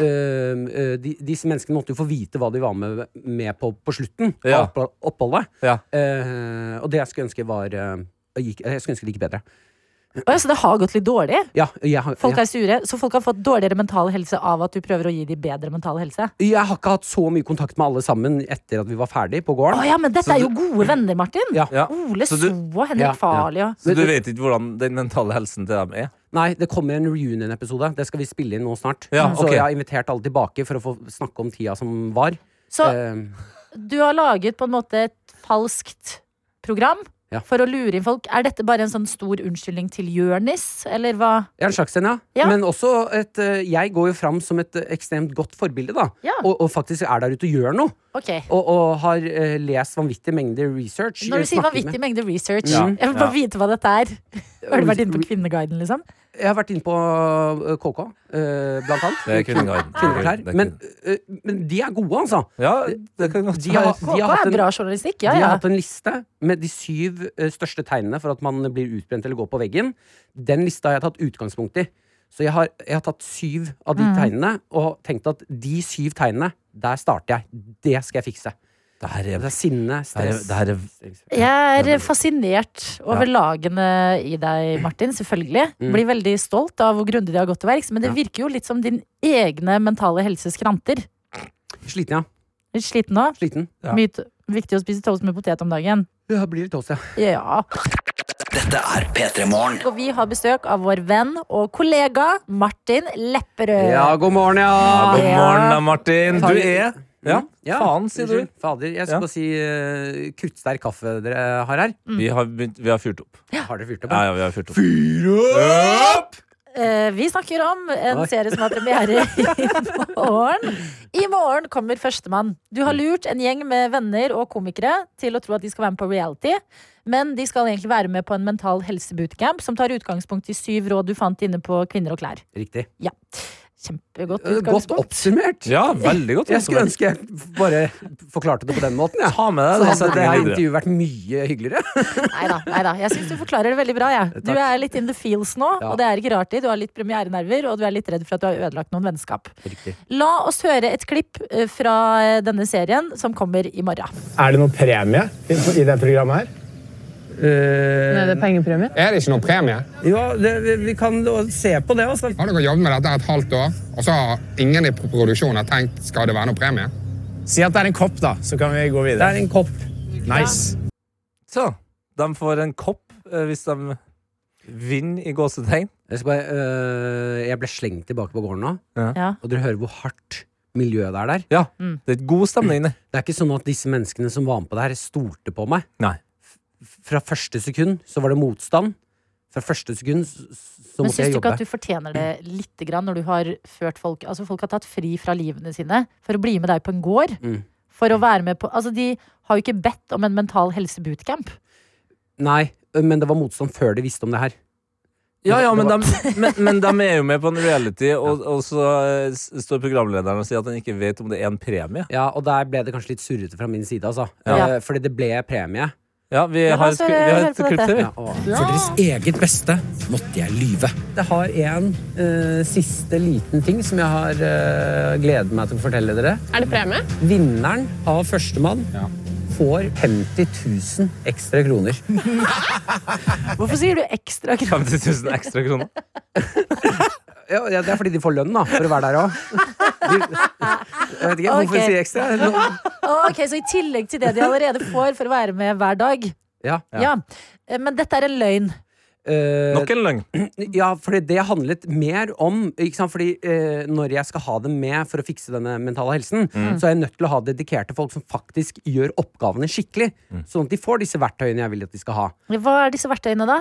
øhm, øh, de, Disse menneskene måtte jo få vite hva de var med, med på på slutten Ja. av opphold- oppholdet. Ja. Eh, og det jeg skulle ønske var øh, gikk, Jeg skulle ønske det gikk bedre. Oi, så det har gått litt dårlig. Ja, jeg, har- Folk jeg, er sure, så folk har fått dårligere mental helse av at du prøver å gi dem bedre mental helse. jeg har ikke hatt så mye kontakt med alle sammen etter at vi var ferdig på Å gården. ja, men dette er jo gode venner, Martin. Ja. Ja. Ole Så So du- og Ja, ja. Henrik Farley og Så du vet ikke hvordan den mentale helsen til dem er? Nei, det kommer en reunion-episode. Det skal vi spille inn nå snart. Ja, Så ok. jeg har invitert alle tilbake for å få snakke om tida som var. Så Eh, du har laget på en måte et falskt program Ja. for å lure inn folk. Er dette bare en sånn stor unnskyldning til Jørnis, eller hva? Ja, en slags en, ja. Ja. Men også et eh, Jeg går jo fram som et eh, ekstremt godt forbilde, da. Ja. Og, og faktisk er der ute og gjør noe. Ok. Og, og har eh, lest vanvittige mengder research. Når eh, du sier snakket vanvittig med- mengde research, Ja, jeg vil bare vite hva dette er. Har du vært inne på Kvinneguiden, liksom? Jeg har vært inne på eh, KK, eh, blant annet. Det er Kvinneguiden. Kvinner her. Det er Men, Kvinne- eh, men de er gode, altså. Ja, det kan godt De har, være. de har Hva hatt er en bra journalistikk? Ja, De ja. har hatt en liste med de syv eh, største tegnene for at man blir utbrent eller går på veggen. Den lista har jeg tatt utgangspunkt i. Så jeg har, jeg har tatt syv av Mm. de tegnene og tenkt at de syv tegnene, der starter jeg. Det skal jeg fikse. Det her Det er, er sinne, det her er, stress det her er Jeg er fascinert over lagene i deg, Martin, selvfølgelig. Mm. Blir veldig stolt av hvor grundig de har gått til verks, men det virker jo litt som din egne mentale helse skranter. Sliten, ja. Litt sliten nå. Sliten. Ja. Mye t- viktig å spise toast med potet om dagen. Ja, blir litt toast, ja. Ja. Dette er P3 Morgen. Og vi har besøk av vår venn og kollega Martin Lepperød. Ja, god morgen, Ah, ja. God morgen, da, Martin. Du er Ja, Ja, faen, sier du. Fader, jeg skal Ja. si eh, kruttsterk kaffe dere har her. Vi har, begynt, vi har fyrt opp. Har dere fyrt opp? Ja, Mm. Ja, ja, vi har fyrt opp. Eh, vi snakker om en Oi. serie som har premiere i morgen. I morgen kommer Førstemann. Du har lurt en gjeng med venner og komikere til å tro at de skal være med på reality. Men de skal egentlig være med på en mental helse-bootcamp som tar utgangspunkt i syv råd du fant inne på Kvinner og klær. Riktig. Ja, Kjempegodt Eh, Godt utgangspunkt. oppsummert. Ja, veldig godt. Jeg skulle ønske jeg f- bare forklarte det på den måten. Ja. Ta med deg Så den hadde det her setningen videre. intervjuet vært mye hyggeligere. Neida, neida. Jeg syns du forklarer det veldig bra. Jeg. Du Takk. er litt in the feels nå, Ja. og det er ikke rart. det. Du har litt premierenerver, og du er litt redd for at du har ødelagt noen vennskap. Riktig. La oss høre et klipp eh, fra eh, denne serien som kommer i morgen. Er det noen premie i, i det programmet her? Er Eh, det pengepremie? Er det ikke noen premie? Ja, vi, kan se på det. Også. Har dere jobbet med dette et halvt år, og så har ingen i produksjonen tenkt skal det være noen premie? Si at det er en kopp, da, så kan vi gå Det videre. er en kopp. Nice. Så, de får en kopp eh, hvis de vinner i gåsetegn. Jeg, skal bare, øh, jeg ble slengt tilbake på gården nå, Ja. og dere hører hvor hardt miljøet det er der. Ja, det er god stemning, det. Det er ikke sånn at disse menneskene som var med på det her, stolte på meg. Nei. Fra første sekund så var det motstand. Fra første sekund s- s- så Men måtte syns jeg du ikke jobbe. at du fortjener det litt grann når du har ført folk Altså folk har tatt fri fra livene sine for å bli med deg på en gård? Mm. For å være med på Altså de har jo ikke bedt om en mental helse bootcamp. Nei, øh, men det var motstand før de visste om det her. Ja, ja, Det men var- de, men, men de er jo med på en reality, og, og så eh, s- står programlederen og sier at han ikke vet om det er en premie. Ja, og der ble det kanskje litt surrete fra min side, altså. Ja. Eh, Fordi det ble premie. Ja, vi Ja, la har oss et, vi har høre et på dette. klipp til, vi. Ja, å. For deres eget beste måtte jeg lyve. Det har en eh, siste liten ting som jeg har eh, gledet meg til å fortelle dere. Er det premie? Vinneren av førstemann får 50 000 ekstra kroner. Hvorfor sier du ekstra kroner? 50 000 ekstra kroner. Ja, ja, det er fordi de får lønn da, for å være der òg. Jeg vet ikke hvorfor Ok. de sier ekstra. Lønn. Ok, Så i tillegg til det de allerede får for å være med hver dag. Ja. Ja. Eh, Men dette er en løgn. Eh, Nok en løgn. Ja, fordi det handlet mer om ikke sant? Fordi eh, Når jeg skal ha dem med for å fikse denne mentale helsen, Mm. så er jeg nødt til å ha dedikerte folk som faktisk gjør oppgavene skikkelig. Sånn at de får disse verktøyene jeg vil at de skal ha. Hva er disse verktøyene, da?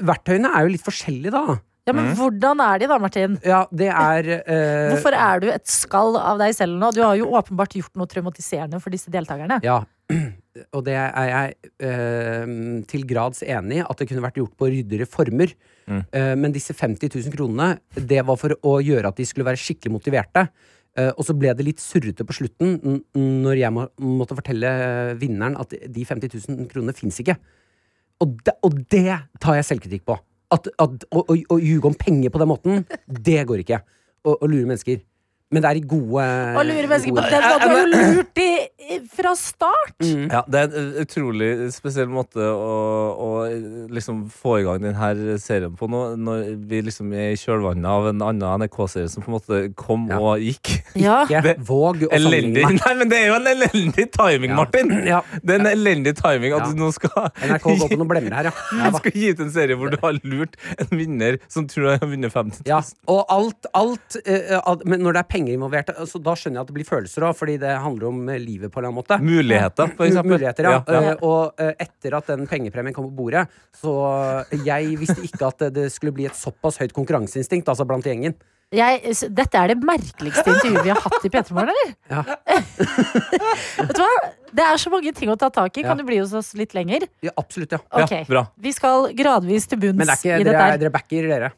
Verktøyene er jo litt forskjellige, da. Ja, Men hvordan er de, da, Martin? Ja, det er Mm. eh, Hvorfor er du et skall av deg selv nå? Du har jo åpenbart gjort noe traumatiserende for disse deltakerne. Ja. Og det er jeg eh, til grads enig i, at det kunne vært gjort på ryddigere former. Eh, men disse 50 000 kronene, det var for å gjøre at de skulle være skikkelig motiverte. Eh, og så ble det litt surrete på slutten n- når jeg må, måtte fortelle eh, vinneren at de 50 000 kronene fins ikke. Og det, og det tar jeg selvkritikk på. At, at, å, å, å ljuge om penger på den måten, det går ikke. Å å lure mennesker. Men det er i gode Å lure mennesker på gode- den måten! Du har jo lurt de eh, fra start! Mm. Ja, det er en eh, utrolig spesiell måte å, å liksom få i gang denne serien på nå, når vi liksom er i kjølvannet av en annen NRK-serie som på en måte kom og gikk. Ja. Det- Våg å Elendig. sammenligne. Nei, men det er jo en elendig timing, Martin! Det er en elendig timing at Ja. du nå skal NRK går på noen blemmer her, ja. Du skal gi ut en serie hvor du har lurt en vinner som tror han har vunnet 50 000. Ja, og alt, alt, eh, alt Men når det er penger involvert, altså, da skjønner jeg at det blir følelser òg, fordi det handler om eh, livet på en eller annen måte. Muligheter, for Mu- eksempel. Muligheter, ja. Ja, ja. Eh, og eh, etter at den pengepremien kom på bordet, så eh, Jeg visste ikke at det- det skulle bli et såpass høyt konkurranseinstinkt, altså blant gjengen. Jeg, s- dette er det merkeligste intervjuet vi har hatt i P3 Morgen, eller? Ja. Vet du hva? Det er så mange ting å ta tak i. Ja. Kan du bli hos oss litt lenger? Ja, absolutt, ja. Ok. Vi skal gradvis til bunns Men det er ikke, i dere, dette er, her. dere backer, dere.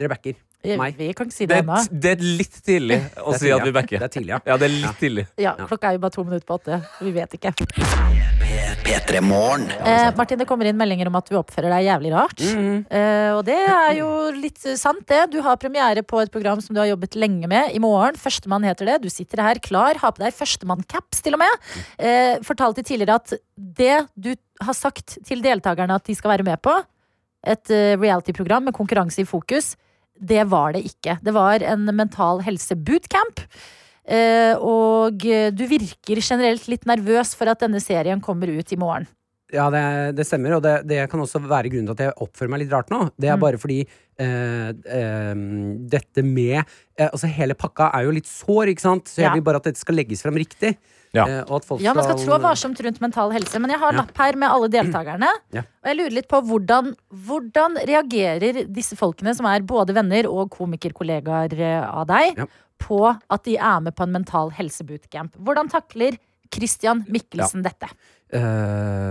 Dere backer. Eh, Meg. Vi kan ikke si Det det er, ennå. det er litt tidlig å Det er si at tidlig, vi ja. backer. Det er tidlig, ja. Ja, det er litt tidlig. Ja, klokka er jo bare to minutter på åtte. Vi vet ikke. P3 Morgen. Eh, Martin, det kommer inn meldinger om at du oppfører deg jævlig Mm. rart. eh, og det er jo litt eh, sant, det. Du har premiere på et program som du har jobbet lenge med. I morgen. Førstemann heter det. Du sitter her klar. Har på deg førstemann-caps, til og med. Eh, fortalte tidligere at det du har sagt til deltakerne at de skal være med på, et eh, reality-program med konkurranse i fokus, det var det ikke. Det var en mental helse-bootcamp. Eh, og eh, du virker generelt litt nervøs for at denne serien kommer ut i morgen. Ja, det, det stemmer, og det, det kan også være grunnen til at jeg oppfører meg litt rart nå. Det er Mm. bare fordi eh, eh, dette med eh, Altså, hele pakka er jo litt sår, ikke sant? Så jeg Ja. vil bare at dette skal legges frem riktig. Eh, og at folk Ja, Man skal trå skal varsomt rundt mental helse, men jeg har en Ja. lapp her med alle deltakerne. Ja. Og jeg lurer litt på hvordan, hvordan reagerer disse folkene, som er både venner og komikerkollegaer eh, av deg, på at de er med på en mental helse-bootcamp. Hvordan takler Christian Mikkelsen dette? Eh,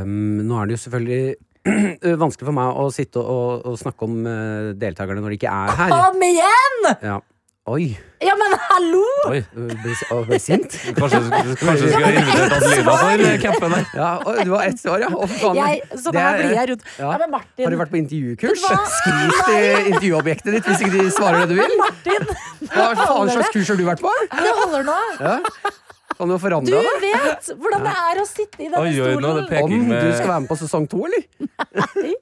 nå er det jo selvfølgelig vanskelig for meg å sitte og, og snakke om eh, deltakerne når de ikke er her. Kom igjen! Ja. Oi. Ja, men hallo! Oi. Ble, å, ble sint? Kanskje du skulle- kanskje du skulle ha invitert Adelina for campen her? Ja, oi, det var ett svar, ja. Å, fy faen. Jeg, så Det her er- blir jeg rundt. Ja, ja. men Martin, Har du vært på Vet intervjukurs? du hva? Skriv til intervjuobjektet ditt hvis ikke de svarer det du vil. Hva faen slags kurs har du vært på? det holder nå. Ja. Kan du ha Du forandra deg? vet hvordan det er å sitte i denne Oi, oi, nå er det stolen. peking Om du med- skal være med på sesong to, eller?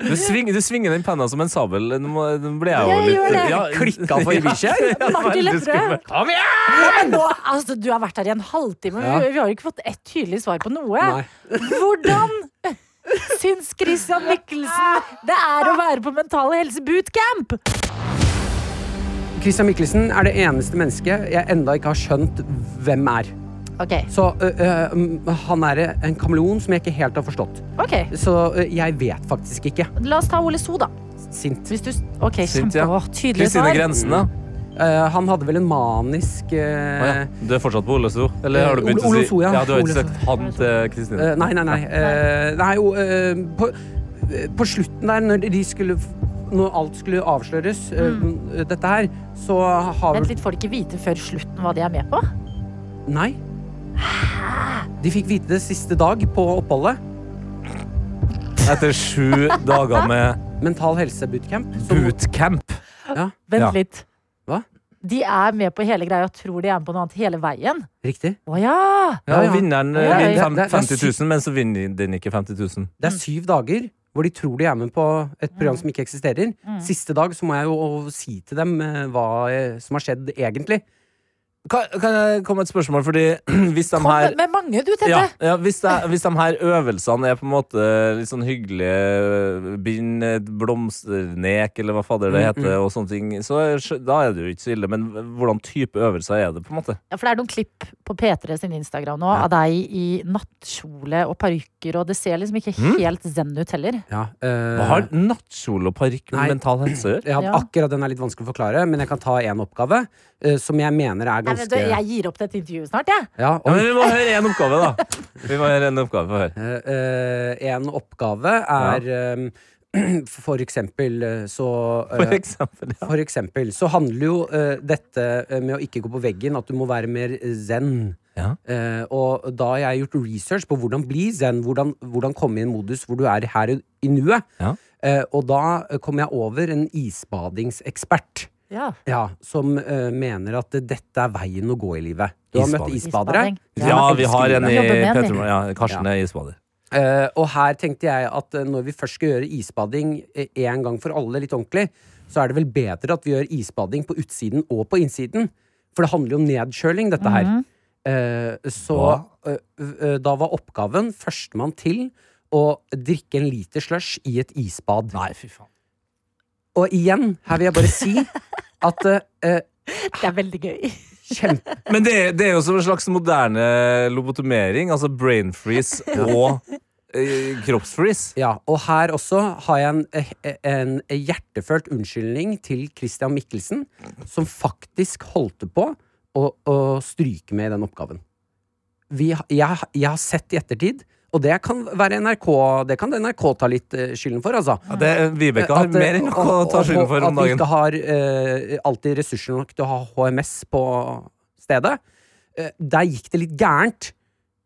Du, sving, du svinger den penna som en sabel. Nå må- nå ble jeg jo Jeg litt gjør det. Klikka for i bikkja her. Martin veldig Lepperød. skummelt. Kom igjen! Ja, men nå, altså, du har vært her i en halvtime, men Ja. vi, vi har jo ikke fått ett tydelig svar på noe. Nei. Hvordan syns Christian Mikkelsen det er å være på Mental Helse Bootcamp? Christian Mikkelsen er det eneste mennesket jeg enda ikke har skjønt hvem er. Ok. Så ø, ø, m, han er en kameleon som jeg ikke helt har forstått. Ok. Så ø, jeg vet faktisk ikke. La oss ta Ole So, da. Sint. Hvis du, ok, Sint, kjempe, ja. å, tydelig Kristine svar. Grensen, da? Eh, han hadde vel en manisk Å ja. eh, Du er fortsatt på Ole So? Eller har du begynt å Ole- Ole si So, ja. ja, Du har Ole ikke So. sagt han til Kristine? eh, Nei, nei, nei. Eh, det er jo eh, på, eh, på slutten der, når de skulle f- Når alt skulle avsløres, eh, Mm. dette her, så har Vent litt, får de ikke vite før slutten hva de er med på? Nei. De fikk vite det siste dag på oppholdet. etter sju dager med Mental helse bootcamp. Bootcamp? Ja. Vent litt. Hva? De er med på hele greia og tror de er med på noe annet hele veien. Riktig. Å ja! Ja, vinneren eh, Ja, ja. vinner fem- Det er- det er 50 000, men så vinner den ikke 50 000. Mm. Det er syv dager hvor de tror de er med på et program som ikke eksisterer. Mm. Siste dag så må jeg jo si til dem eh, hva eh, som har skjedd egentlig. Kan, kan jeg komme med et spørsmål? Fordi hvis de Kom her med mange, du, Tette. ja, ja, hvis, det, hvis de her øvelsene er på en måte litt sånn hyggelige Bind et blomsternek, eller hva fader det Mm, heter, og sånne ting, så er, da er det jo ikke så ille. Men hvordan type øvelser er det, på en måte? Ja, for det er noen klipp på P3 sin Instagram nå av deg i nattkjole og parykker, og det ser liksom ikke Mm. helt zen ut heller. Hva har Eh, nattkjole og parykk med mental helse å gjøre? Eh, Ja, Ja. Akkurat den er litt vanskelig å forklare, men jeg kan ta én oppgave eh, som jeg mener er Nei, vet du, ganske jeg gir opp dette intervjuet snart, jeg. Ja, Ja, men vi må høre én oppgave, da. Vi må høre en oppgave. Få høre. Eh, en oppgave er eh, For eksempel eh, så eh, For eksempel, ja. For eksempel så handler jo eh, dette eh, med å ikke gå på veggen at du må være mer zen. Eh, og da har jeg gjort research på hvordan bli zen, hvordan, hvordan komme i en modus hvor du er her i, i nuet. Eh, og da eh, kom jeg over en isbadingsekspert. Ja. Ja, som eh, mener at eh, dette er veien å gå i livet. Du har møtt isbadere. Isbading. Ja, vi har en i Petremorgen. Ja, Karsten er isbader. Eh, og her tenkte jeg at eh, når vi først skal gjøre isbading eh, en gang for alle litt ordentlig, så er det vel bedre at vi gjør isbading på utsiden og på innsiden. For det handler jo om nedkjøling, dette her. Eh, så eh, eh, da var oppgaven førstemann til å drikke en liter slush i et isbad. Nei, fy faen. Og igjen, her vil jeg bare si at eh, Det er veldig gøy. Men det, er- det er jo som en slags moderne lobotomering. Altså brain freeze og eh, kroppsfreeze. Ja, og her også har jeg en, eh, en hjertefølt unnskyldning til Christian Mikkelsen, som faktisk holdt på å, å stryke med i den oppgaven. Vi, ha- jeg, jeg har sett i ettertid, og det kan være NRK Det kan NRK ta litt eh, skylden for, altså. Ja, det- Vibeke har eh, mer enn nok å og- ta skylden og- for om At vi dagen. ikke har eh, alltid ressurser nok til å ha HMS på stedet. Eh, der gikk det litt gærent.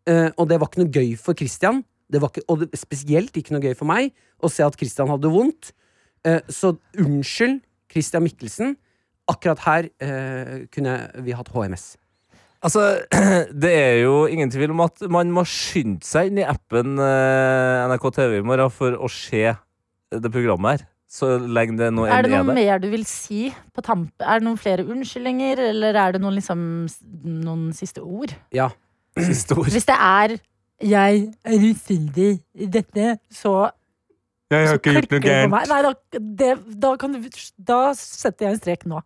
Eh, og det var ikke noe gøy for Christian. Det var ikke, og det, spesielt ikke noe gøy for meg å se at Christian hadde vondt. Eh, så unnskyld, Christian Mikkelsen. Akkurat her eh, kunne vi hatt HMS. Altså, det er jo ingen tvil om at man må skynde seg inn i appen eh, NRK TV i morgen for å se det programmet her. Så lenge det nå Er enn det er noe det. mer du vil si på tamp? Er det noen flere unnskyldninger, eller er det noen, liksom, s- noen siste ord? Ja. Siste ord. Hvis det er 'jeg er uskyldig i dette', så Jeg har ikke klikker du på meg. Nei, da, det, da, kan du, da setter jeg en strek nå.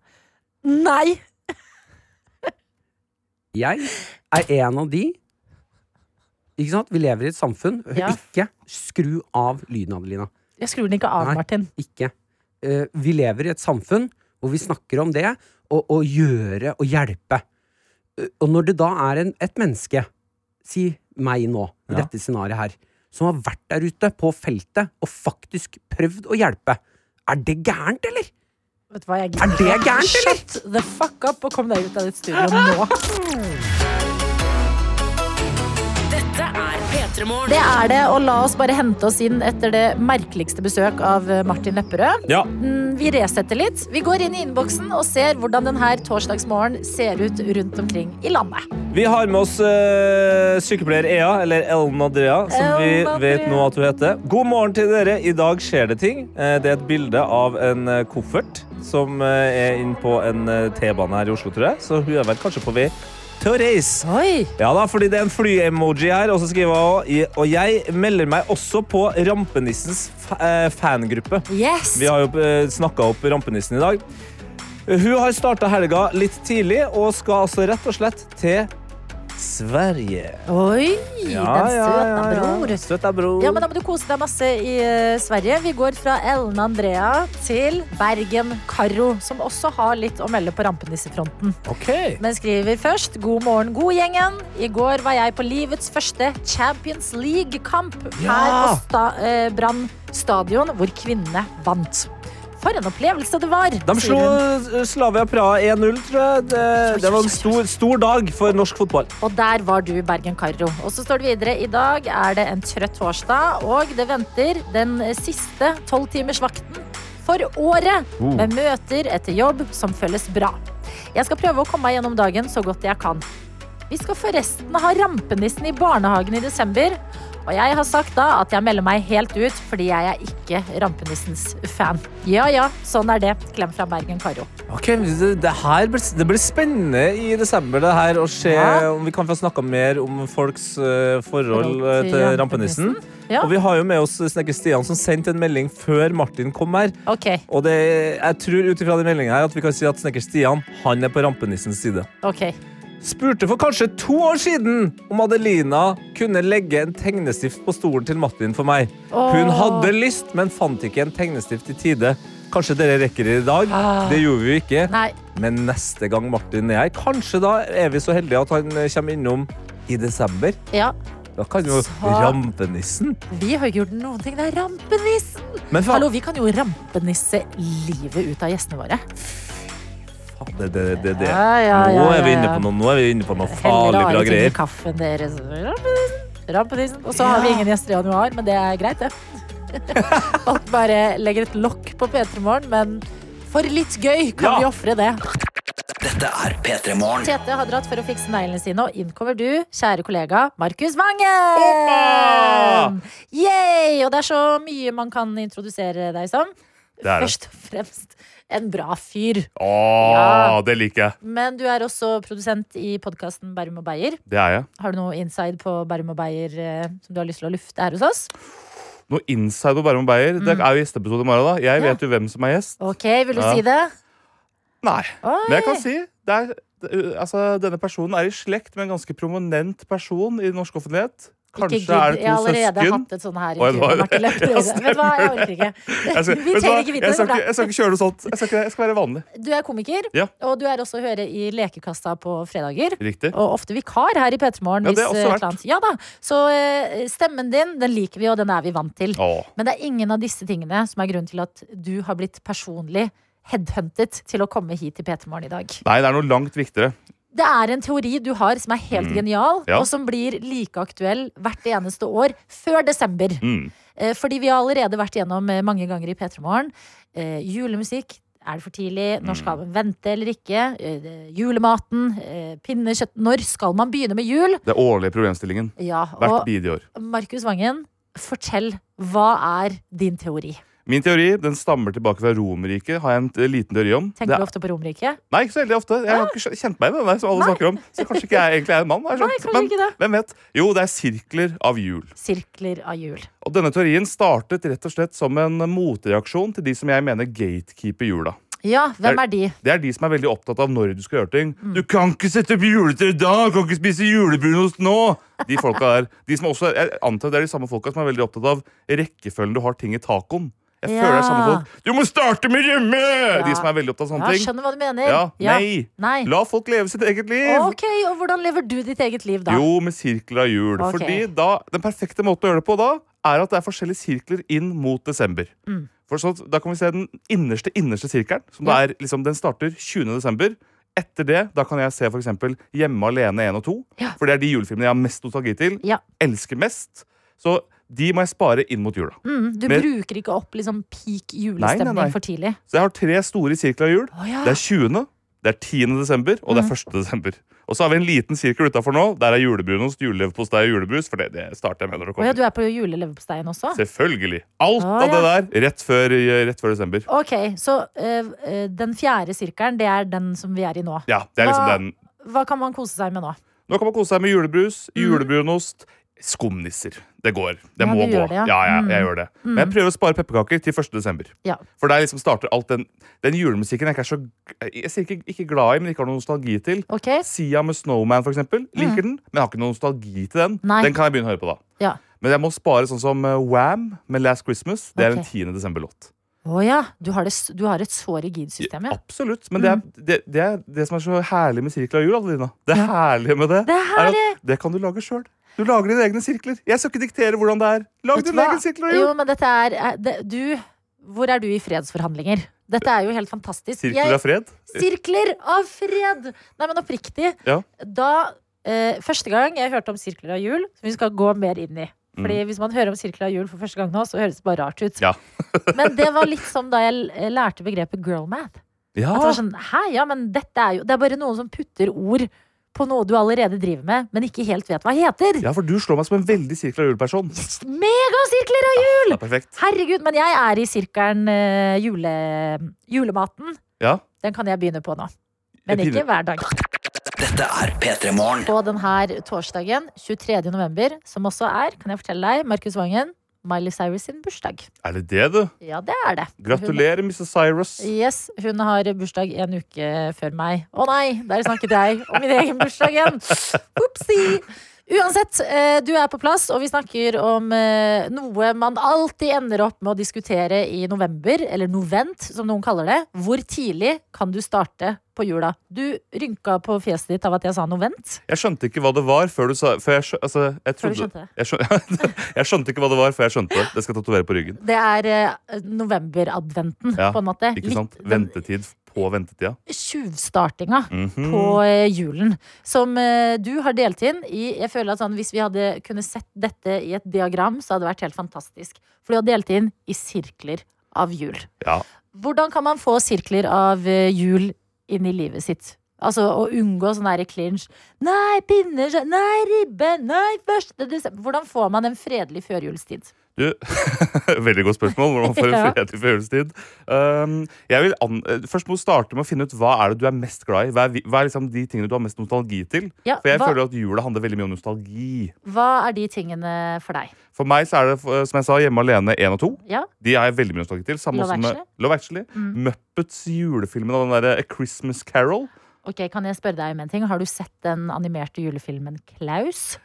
Nei! Jeg er en av de Ikke sant? Vi lever i et samfunn. Hør, Ja. Ikke skru av lyden, Adelina. Jeg skrur den ikke av, Nei, Martin. Ikke. Eh, vi lever i et samfunn hvor vi snakker om det og, og gjøre og hjelpe. Eh, og når det da er en, et menneske, si meg nå, i Ja. dette scenarioet her, som har vært der ute på feltet og faktisk prøvd å hjelpe, er det gærent, eller? Vet du hva, jeg Er det gærent, eller? Shut the fuck up og kom deg ut av ditt studio nå. Dette er P3morgen. Det er det, og la oss bare hente oss inn etter det merkeligste besøk av eh, Martin Lepperød. Ja. Mm, Vi resetter litt. Vi går inn i innboksen og ser hvordan denne torsdagsmorgen ser ut rundt omkring i landet. Vi har med oss eh, sykepleier Ea, eller Ellen Andrea, som vi Ellen Andrea. vet nå at hun heter. God morgen til dere. I dag skjer det ting. Eh, det er et bilde av en eh, koffert som eh, er inne på en eh, T-bane her i Oslo, tror jeg. Så hun er vel kanskje på vei til å reise. Ja da, fordi det er en fly-emoji her, og så skriver hun i- Og jeg melder meg også på Rampenissens fa eh, fangruppe. Yes! Vi har jo eh, snakka opp Rampenissen i dag. Hun har starta helga litt tidlig og skal altså rett og slett til Sverige. Oi, den søta bror. Søta bror. Ja, men Da må du kose deg masse i eh, Sverige. Vi går fra Ellen Andrea til Bergen Karro, som også har litt å melde på rampenissefronten. Men skriver først God morgen, god gjengen. I går var jeg på livets første Champions League-kamp her Ja! på sta eh, Brann stadion, hvor kvinnene vant. For en opplevelse det var! De sier slo hun. eh, Slavia Praha 1-0, tror jeg. Det, det var en stor, stor dag for norsk fotball. Og der var du i Bergen Karro. Og så står det videre i dag er det en trøtt torsdag, og det venter den siste tolvtimersvakten for året Oh. med møter etter jobb som føles bra. Jeg skal prøve å komme meg gjennom dagen så godt jeg kan. Vi skal forresten ha rampenissen i barnehagen i desember. Og jeg har sagt da at jeg melder meg helt ut, fordi jeg er ikke rampenissens fan. Ja ja, sånn er det. Klem fra Bergen Karo. Ok, Det, det her blir, det blir spennende i desember det her, å se Ja. om vi kan få snakka mer om folks eh, forhold eh, Forhold til til rampenissen. rampenissen. Ja. Og vi har jo med oss snekker Stian, som sendte en melding før Martin kom her. Ok. Og det, jeg tror ut ifra den meldingen her at vi kan si at snekker Stian han er på rampenissens side. Ok. Spurte for kanskje to år siden om Adelina kunne legge en tegnestift på stolen til Martin for meg. Åh. Hun hadde lyst, men fant ikke en tegnestift i tide. Kanskje dere rekker det i dag? Ah. Det gjorde vi jo ikke. Nei. Men neste gang Martin er her, kanskje da er vi så heldige at han eh, kommer innom i desember. Ja, Da kan jo rampenissen Vi har ikke gjort noen ting. Det er rampenissen! Men faen- Hallo, vi kan jo rampenisse livet ut av gjestene våre. det, det, det, det. Ja, ja, ja, Nå er vi ja, inne ja. liksom. på noe, nå er vi inne på noe Heller farlig rare bra ting i greier. Kaffen deres. Rampenissen, rampenissen. Og så har vi ingen gjester i januar, men det er greit, det. Folk bare legger et lokk på P3 Morgen, men for litt gøy kan vi ofre det. Dette er P3 Morgen. Tete har dratt for å fikse neglene sine, og inn kommer du, kjære kollega Markus Vangen! Yay! Og det er så mye man kan introdusere deg som. Det er det. Først og fremst en bra fyr. Å, Ja. det liker jeg. Men du er også produsent i podkasten Bærum og Beyer. Det er jeg. Har du noe inside på Bærum og Beyer eh, som du har lyst til å lufte her hos oss? Noe inside på Bærum og Beyer. Det Mm. er jo gjesteepisode i morgen, da. Jeg vet jo hvem som er gjest. Ok, vil du Ja. si det? Nei. Oi. Men jeg kan si det er, det, uh, altså, Denne personen er i slekt med en ganske prominent person i norsk offentlighet. Kanskje gidd. er det Jeg har to allerede søsken. hatt et sånt her Oi, intervju det var med Martin det. Lepperød. Ja, Vet du hva, jeg stemmer. orker ikke. Jeg skal- Vi vet du trenger hva? ikke vite Jeg det, skal det er bra. ikke- Jeg skal ikke kjøre noe sånt. Jeg skal, ikke, jeg skal være vanlig. Du er komiker, Ja. og du er også å høre i Lekekassa på fredager. Riktig. Og ofte vikar her i P3 Morgen. eh, Ja, det er også vært. Ja da. Så eh, stemmen din, den liker vi, og den er vi vant til. Åh. Men det er ingen av disse tingene som er grunnen til at du har blitt personlig headhuntet til å komme hit til P3 Morgen i dag. Nei, det er noe langt viktigere. Det er en teori du har som er helt Mm. genial, Ja. og som blir like aktuell hvert eneste år før desember. Mm. Eh, Fordi vi har allerede vært gjennom eh, mange ganger i P3 Morgen. Eh, julemusikk. Er det for tidlig? Når Mm. skal man vente eller ikke? Eh, det- julematen. Eh, pinnekjøtt. Når skal man begynne med jul? Det er årlige problemstillingen. Ja, Hvert og- bidige år. Markus Vangen, fortell. Hva er din teori? Min teori den stammer tilbake fra Romerriket. Har jeg en eh, liten teori om. Tenker Det du ofte på Romerike? Nei, ikke så veldig ofte. Jeg har ikke skjø- kjent meg i den der som alle snakker om. Så kanskje ikke jeg egentlig er en mann. har jeg Nei, skjønt. kanskje Men ikke det. Hvem vet? Jo, det er sirkler av hjul. Sirkler av jul. Og denne teorien startet rett og slett som en motreaksjon til de som jeg mener gatekeeper jula. Ja, hvem er de? Det er de som er veldig opptatt av når du skal gjøre ting. Mm. Du kan ikke sette opp juletre da! Du kan ikke spise julebrunost nå! De folka der. De som også, jeg antar det er de samme folka som er veldig opptatt av rekkefølgen du har ting i tacoen. Jeg føler det er samme Ja. folk. Du må starte med rømme! De som er veldig opptatt av sånne ja, ting. Skjønner hva du mener. Ja, nei. nei. La folk leve sitt eget liv! Ok, og hvordan lever du ditt eget liv da? Jo, med sirkler av hjul. Ok. Fordi da, Den perfekte måten å gjøre det på da, er at det er forskjellige sirkler inn mot desember. Mm. For sånn, Da kan vi se den innerste innerste sirkelen. Som da er, liksom, den starter 20. desember. Etter det da kan jeg se for eksempel Hjemme alene 1 og 2. For det er de julefilmene jeg har mest nostalgi til. Elsker mest. Så de må jeg spare inn mot jula. Mm, du Men- bruker ikke opp liksom peak Nei, julestemning nei, nei. for tidlig. Så jeg har tre store sirkler av jul. ja. Det er 20., det er 10. desember, og det Mhm. er 1. desember. Og så har vi en liten sirkel utafor nå. Der er julebrunost, juleleverpostei og julebrus. For det, det starter jeg med når det Å ja, kommer. du er på juleleverposteien også? Selvfølgelig. Alt Å, av det ja. der rett før, eh, rett før desember. Ok, så eh, eh, den fjerde sirkelen, det er den som vi er i nå. Ja, det er liksom hva, den. Hva kan man kose seg med nå? Nå kan man kose seg med julebrus, julebrunost, skumnisser. Det går. Det Mm. Ja, må du gå. gjør det, ja. ja, ja, jeg Mm. gjør det. Men jeg Mm. prøver å spare pepperkaker til 1. desember. Ja. For der liksom starter alt den, den julemusikken jeg ikke er så Jeg sier ikke, ikke glad i, men ikke har noen nostalgi til. Sia med Snowman, for eksempel. Liker den, men jeg har ikke noen nostalgi til den. Mm. Nei. Den kan jeg begynne å høre på da. Ja. Men jeg må spare sånn som eh, Wham med Last Christmas. Det er Ok. en 10. desember-låt. Å ja, du har, det, s- du har et så rigid system, ja. Absolutt. Men det, Mm. er, det, det er det som er så herlig med sirkel av jul, Adelina. Det herlige med det, er at det kan du lage sjøl. Du lager dine egne sirkler. Jeg skal ikke diktere hvordan det er. Lag Vet du din hva? egen sirkel av Jo, jul. men dette er eh, det, Du Hvor er du i fredsforhandlinger? Dette er jo helt fantastisk. Sirkler av fred? Sirkler av fred! Nei, men oppriktig. Ja. Da, eh, første gang jeg hørte om sirkler av jul, som vi skal gå mer inn i. Fordi Hvis man hører om sirkler av jul for første gang nå, så høres det bare rart ut. Mm. Ja. men det var litt som da jeg l- lærte begrepet girlmath. Ja. At det var sånn, Hæ, ja, men dette er jo Det er bare noen som putter ord på noe du allerede driver med, men ikke helt vet hva heter. Ja, for du slår meg som en veldig sirkel av juleperson. Megasirkler av jul! Ja, perfekt. Herregud, men jeg er i sirkelen eh, jule, julematen. Ja. Den kan jeg begynne på nå. Men Jeg begynner- ikke hver dag. Dette er P3 Morgen. På denne torsdagen, 23. november, som også er, kan jeg fortelle deg, Markus Vangen, Miley Cyrus sin bursdag. Er det det, du? Ja, det er det. Gratulerer, Mrs. Cyrus. Hun, yes, hun har bursdag en uke før meg. Å nei, der snakket jeg om min egen bursdag igjen! Opsi! Uansett, eh, du er på plass, og vi snakker om eh, noe man alltid ender opp med å diskutere i november, eller novent, som noen kaller det. Hvor tidlig kan du starte på jula? Du rynka på fjeset ditt av at jeg sa novent. Jeg skjønte ikke hva det var før du sa før jeg, skjø- altså, jeg Før du trodde- skjønte det. Jeg skjønte, jeg skjønte ikke hva det var før jeg skjønte det. Det skal jeg tatovere på ryggen. Det er eh, novemberadventen, Ja, på en måte. Ikke sant? Ventetid på ventetida. tjuvstartinga Mhm. på eh, julen. Som eh, du har delt inn i Jeg føler at sånn, Hvis vi hadde kunne sett dette i et diagram, så hadde det vært helt fantastisk. For du har delt inn i sirkler av jul. Ja. Hvordan kan man få sirkler av eh, jul inn i livet sitt? Altså å unngå sånn derre clinch. Nei, pinner, så- nei, ribbe, nei, første desember. Hvordan får man en fredelig førjulstid? Du, Veldig godt spørsmål. Hvordan får Ja. en fredelig følelsestid? Um, jeg vil an eh, først må du starte med å finne ut hva er det du er mest glad i. Hva er, vi- hva er liksom de tingene du har mest nostalgi til? Ja, For jeg hva- føler at jula handler veldig mye om nostalgi. Hva er de tingene for deg? For meg så er det, eh, som jeg sa, Hjemme alene 1 og 2. Ja? De er jeg veldig mye nostalgi til. Samme Love som eh, Actually? Mm. Love Actually. Muppets julefilmen av den derre A Christmas Carol. Ok, Kan jeg spørre deg om en ting? Har du sett den animerte julefilmen Klaus?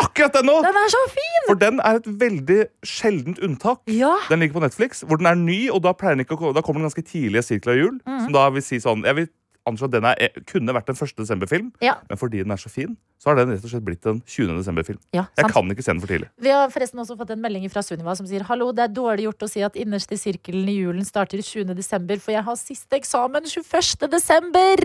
Akkurat den nå! Den er så fin! For den er et veldig sjeldent unntak. Den ligger på Netflix, hvor den er ny, og da, pleier den ikke å, ko- da kommer den ganske tidlig i sirkel av jul. Mhm. Som da vil si sånn Jeg vil anslå at den er, eh, kunne vært en 1. desember-film, Ja. men fordi den er så fin, så har den rett og slett blitt en 20. desember-film. Ja, jeg sant. kan ikke se den for tidlig. Vi har forresten også fått en melding fra Sunniva som sier Hallo, det er dårlig gjort å si at innerste sirkelen i julen starter 20. desember, for jeg har siste eksamen 21. desember!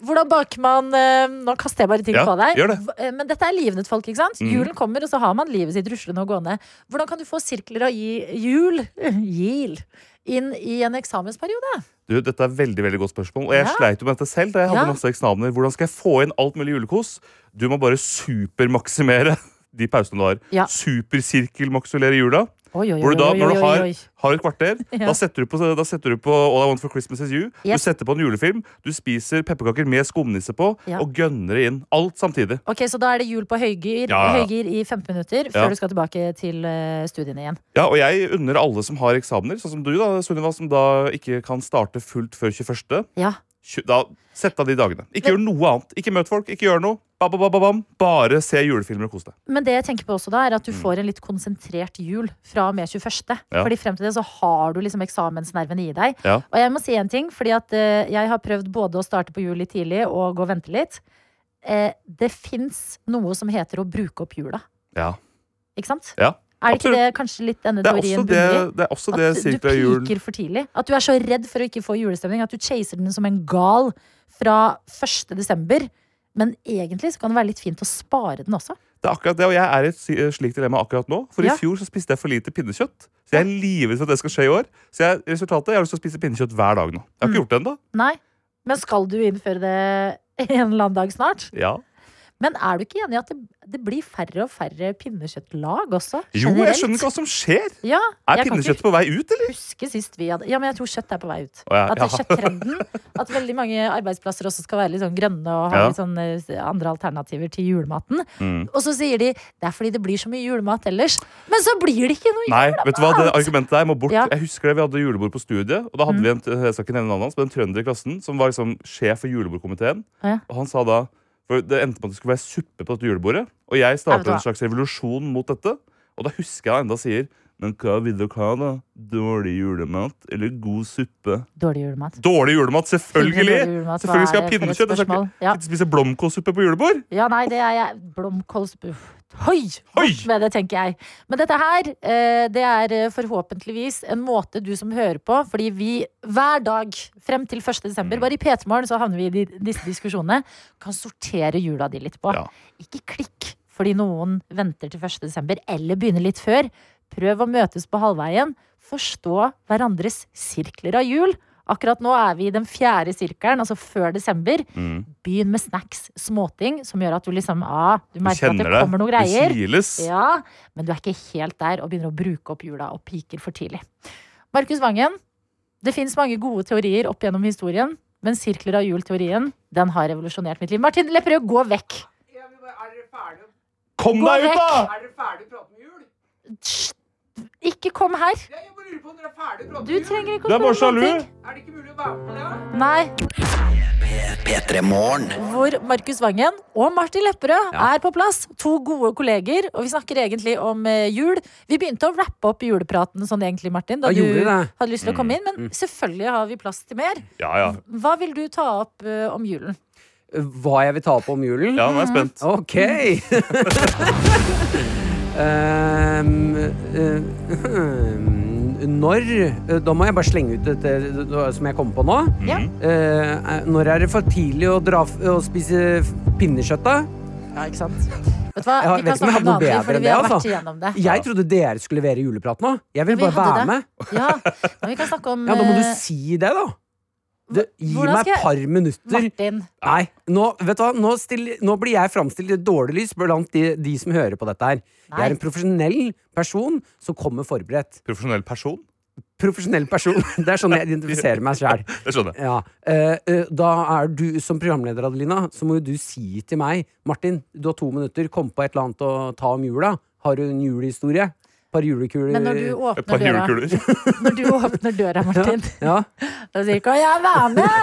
Hvordan baker man eh, Nå kaster jeg bare ting Ja, på deg. gjør det. V- eh, Men dette er livnødt, folk. ikke sant? Mm. Mhm. Julen kommer, og så har man livet sitt ruslende og gående. Hvordan kan du få sirkler av gi- jul eh, Jil inn i en eksamensperiode? Du, Dette er veldig veldig godt spørsmål, og jeg Ja. sleit jo med dette selv. da jeg hadde Ja. masse eksamener. Hvordan skal jeg få inn alt mulig julekos? Du må bare supermaksimere de pausene du har. Ja. Supersirkelmaksulere jula. Oi, oi, Hvor du da, oi, når du oi, har, oi, oi. har et kvarter, Ja. da, setter du på, da setter du på All I Want for Christmas Is You. Yes. Du setter på en julefilm, du spiser pepperkaker med skumnisse på, Ja. og gønner det inn. Alt samtidig. Ok, Så da er det jul på høygir, Ja, ja. høygir i 15 minutter før Ja. du skal tilbake til eh, studiene igjen. Ja, Og jeg unner alle som har eksamener, sånn som du, da, Sunniva, som da ikke kan starte fullt før 21. Ja. Tju- Da, Sett av de dagene. Ikke gjør noe annet. Ikke møt folk, ikke gjør noe. Ba, ba, ba, ba, bam. Bare se julefilmer og kos deg. Men det jeg tenker på også da, er at du får en litt konsentrert jul fra og med 21. Mm. Ja. Fordi frem til det så har du liksom eksamensnerven i deg. Ja. Og jeg må si en ting, fordi at eh, jeg har prøvd både å starte på jul litt tidlig og gå og vente litt. Eh, det fins noe som heter å bruke opp jula. Ja. Ikke sant? ja. Er det ikke Absolutt. det kanskje litt denne Det er teorien også det- bunner i? det er også det At du sirkler jul- piker for tidlig? At du er så redd for å ikke få julestemning at du chaser den som en gal fra 1. desember. Men egentlig så kan det være litt fint å spare den også. Det er akkurat det, og jeg er i et sy- eh, slikt dilemma akkurat nå. For Ja. i fjor så spiste jeg for lite pinnekjøtt. Så jeg er livredd for at det skal skje i år. Så jeg, resultatet, jeg har lyst til å spise pinnekjøtt hver dag nå. Jeg Mm. har ikke gjort det ennå. Nei, men skal du innføre det en eller annen dag snart? Ja. Men er du ikke enig i at det, det blir færre og færre pinnekjøttlag også? Jo, jeg generelt? skjønner ikke hva som skjer. Ja, Er jeg kan pinnekjøtt ikke på vei ut, eller? Huske sist vi hadde Ja, men jeg tror kjøtt er på vei ut. Å, ja, At det ja. er kjøtttrenden. At veldig mange arbeidsplasser også skal være litt sånn grønne og ha Ja. litt sånn eh, andre alternativer til julematen. Mm. Og så sier de det er fordi det blir så mye julemat ellers. Men så blir det ikke noe Nei, julemat! vet du hva, det argumentet der må bort. Ja. Mm. Jeg husker det, Vi hadde julebord på studiet, og da hadde vi en, jeg skal ikke nevne navnet hans, men en trønder i klassen som var liksom sjef for julebordkomiteen. Ja. Og han sa da for Det endte med at det skulle være suppe på dette julebordet. Og jeg Ja, vet du startet hva? en slags revolusjon mot dette. Og da husker jeg han enda sier Men hva vil dere ha, da? Dårlig julemat eller god suppe? Dårlig julemat. Dårlig julemat, selvfølgelig! Dårlig julemat, hva selvfølgelig skal er jeg ha det for et pinnekjøtt. Jeg skal spørsmål? ikke ikke spise blomkålsuppe på julebord! Ja, nei, det er jeg Blomkålsuppe uff, Hoi! Bort med det, tenker jeg. Men dette her, eh, det er eh, forhåpentligvis en måte du som hører på, fordi vi hver dag frem til 1. Mm. desember, bare i P3 Morgen, så havner vi i de- disse diskusjonene, kan sortere jula di litt på. Ikke klikk fordi noen venter til 1. desember, eller begynner litt før. Prøv å møtes på halvveien. Forstå hverandres sirkler av jul. Akkurat nå er vi i den fjerde sirkelen, altså før desember. Mm. Begynn med snacks, småting, som gjør at du liksom ah, du merker at det kjenner det. kommer noen Det greier. kiles. Ja, Men du er ikke helt der og begynner å bruke opp jula og piker for tidlig. Markus Vangen, det fins mange gode teorier opp gjennom historien, men sirkler av jul-teorien den har revolusjonert mitt liv. Martin Lepperød, gå vekk! Kom Gå deg ut, da! vekk! Hysj! Ikke kom her. Du trenger ikke å Du er bare spørre om sjalu. noen ting. Nei. P3 Morgen. hvor Markus Vangen og Martin Lepperød Ja. er på plass. To gode kolleger, og vi snakker egentlig om eh, jul. Vi begynte å rappe opp julepraten sånn egentlig, Martin, da Ja, du gjorde vi det? hadde lyst til å Mm, komme inn, men selvfølgelig har vi plass til mer. Ja, ja. Hva vil du ta opp eh, om julen? Eh, Hva jeg vil ta opp om julen? Ja, nå er jeg Mm. spent. Ok. Ehm, eh, når Da må jeg bare slenge ut et eh, som jeg kommer på nå. Ja. Eh, når er det for tidlig å, dra, f- å spise f- pinnekjøtt, da? Ja, ikke sant? Vet du hva, Jeg vi vet kan ikke om jeg snakke har om noe noe annet, bedre fordi enn vi det. har Altså. vært igjennom det. Jeg trodde dere skulle levere juleprat nå. Jeg vil Men vi bare være hadde med. Ja, men vi kan snakke om Ja, Da må du eh, si det, da. Du, gi hvordan skal meg et jeg- par minutter. Martin. Nei, nå, vet du hva? Nå, still, nå blir jeg framstilt i et dårlig lys blant de, de som hører på dette her. Jeg Nei. er en profesjonell person som kommer forberedt. Profesjonell person? Profesjonell person. Det er sånn jeg identifiserer meg sjæl. Det skjønner jeg. Ja. eh, eh, da er du som programleder, Adelina, så må jo du si til meg Martin, du har to minutter, kom på et eller annet å ta om jula. Har du en julehistorie? Et par julekuler? Men når du åpner Et par døra- julekuler. Når du åpner døra, Martin, ja. da sier ikke 'jeg er med'!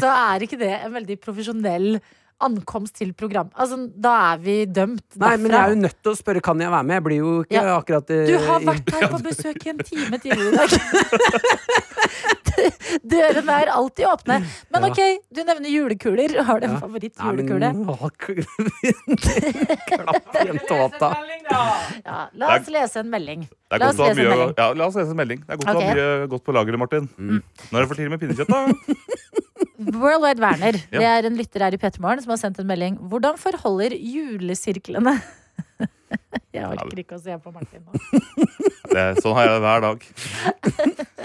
Så er ikke det en veldig profesjonell ankomst til program. Altså, da er vi dømt derfra. Nei, men jeg er jo nødt til å spørre kan jeg være med. Jeg blir jo ikke Ja. akkurat eh, Du har vært i- her på besøk i en time tidligere i dag. Dørene er alltid åpne. Men Ja. ok, du nevner julekuler. Har du en favorittjulekule? Klapp igjen tåta. Ja, la oss lese en melding. Det er La oss godt å ha lese en mye, melding. ja, la oss lese en melding. Det er godt å Ok. Mm. ha mye godt på lageret, Martin. Nå er det for tidlig med pinnekjøtt, da. Worldwide Werner, Ja. det er en lytter her i Petermorgen som har sendt en melding. Hvordan forholder julesirklene Jeg orker ikke å se på Martin nå. Det, er- sånn har jeg det hver dag.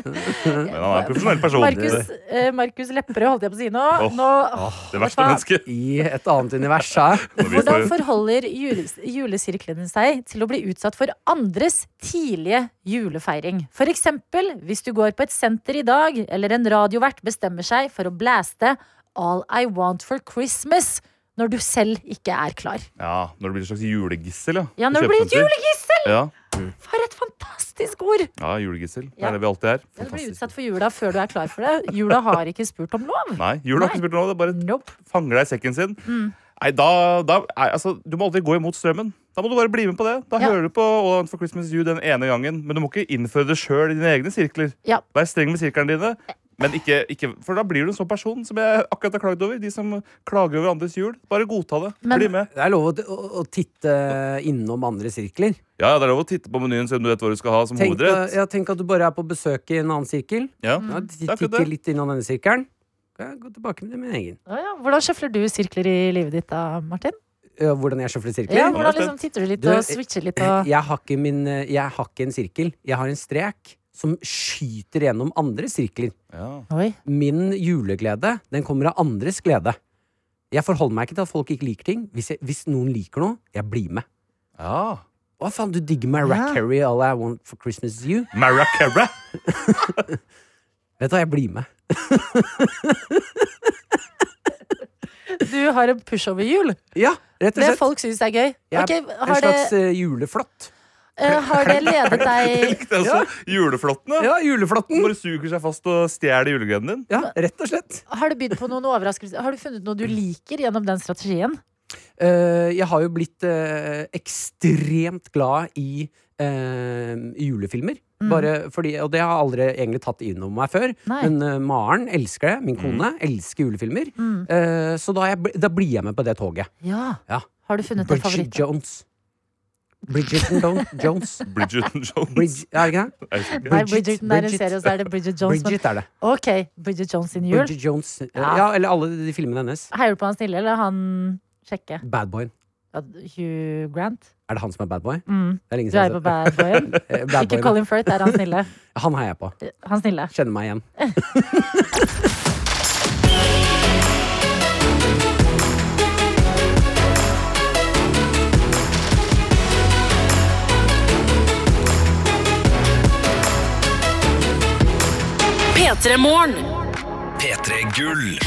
Men han er en profesjonell person. Markus, eh, Markus Lepperød, holdt jeg på å si nå. Åh, nå det vet du verste hva? mennesket. I et annet univers her. Hvordan forholder jules, julesirklene seg til å bli utsatt for andres tidlige julefeiring? For eksempel hvis du går på et senter i dag, eller en radiovert bestemmer seg for å blaste All I Want for Christmas når du selv ikke er klar. Ja, når det blir et slags julegissel, ja. Ja, når det blir et julegissel! Ja, For et fantastisk ord! ja julegissel. Det Ja. er det vi alltid er. Ja, Du blir utsatt for jula før du er klar for det. Jula har ikke spurt om lov. Nei, jula har ikke spurt om noe. Det bare fanger deg i sekken sin. Mm. Nei, da, da nei, altså, Du må alltid gå imot strømmen. Da må du bare bli med på det. Da hører du på All I Want for Christmas You den ene gangen, men du må ikke innføre det sjøl i dine egne sirkler. Ja. Vær streng med sirklene dine. Men ikke, ikke, for da blir du en sånn person som jeg akkurat har klagd over. De som klager over andres jul. Bare godta det. Bli med. Det er lov å, å, å titte innom andre sirkler. Ja, ja, Det er lov å titte på menyen så du vet hva du skal ha som Tenk, hovedrett. ja, tenk at du bare er på besøk i en annen sirkel. Ja. Ja, Mm. t- Det er akkurat Titte det. litt innom denne sirkelen. Kan jeg Gå tilbake med min egen. Ja, ja. Hvordan sjøfler du sirkler i livet ditt da, Martin? Ja, Hvordan jeg sjøfler sirkler? Eh, Ja, hvordan liksom titter du litt og switcher litt og Jeg har, ikke min, jeg har ikke en sirkel. Jeg har en strek som skyter gjennom andre sirkler. Oi. Min juleglede, den kommer av andres glede. Jeg forholder meg ikke til at folk ikke liker ting. Hvis, jeg, hvis noen liker noe, jeg blir med. Hva faen, du digger Mariah Ja. Carey, all I want for Christmas is you. Mariah Carey? Vet du hva, jeg blir med. Du har en pushover-jul. Ja, rett og Det slett. folk syns er gøy. Jeg er Ok, en har, slags det, eh, juleflott. eh, har det ledet deg Det er altså juleflottene. Ja, juleflotten. Bare suger seg fast og stjeler julegleden din. Mm. Ja, rett og slett. Har det bydd på noen overraskelser? Har du funnet noe du liker gjennom den strategien? Eh, jeg har jo blitt eh, ekstremt glad i eh, eh, julefilmer. Mm. Bare fordi, og det har jeg aldri egentlig tatt inn over meg før. Nei. Men eh, Maren elsker det. Min kone elsker julefilmer. Mm. Eh, så da, er jeg, bl- da blir jeg med på det toget. Ja. Ja. Har du funnet en Bridget favoritt? Jones. Bridgerton Don- Jones. Bridgerton Jones. Bridg- er det ikke det? Nei, Bridgerton er en serie, og så er det Bridget Jones. Bridget er det. Men, ok, Bridget Jones sin jul. Bridget Jones. eh, Ja. Ja, eller alle de filmene hennes. Heier du på han snille, eller han kjekke? Bad Boy. Ja, Hugh Grant? Er det han som er bad boy? Mm. Det er lenge Du siden heier på jeg har bad sett- boyen? Eh, Bad Ikke Boy, Colin da. Firth, er han snille? Han heier jeg på. Han snille. Kjenner meg igjen. P3-morgen. P3 Gull.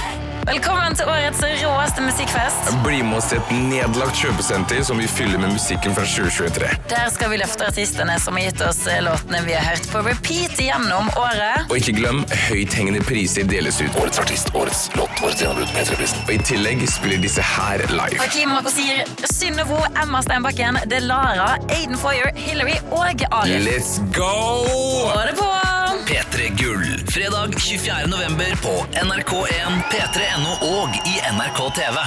Velkommen til årets råeste musikkfest. Bli med oss til et nedlagt kjøpesenter som vi fyller med musikken fra 2023. Der skal vi løfte artistene som har gitt oss eh, låtene vi har hørt på repeat gjennom året. Og ikke glem, høythengende priser deles ut. Årets artist, årets låt, årets gjennombrudd, P3-prisen. Og i tillegg spiller disse her live. Hakim Makosir, Synnevo, Emma Steinbakken, Delara, Aiden Foyer, Hillary og Arif. Let's go! Få det på! P3 Gull. Fredag 24. november på NRK1, P3.no og i NRK TV.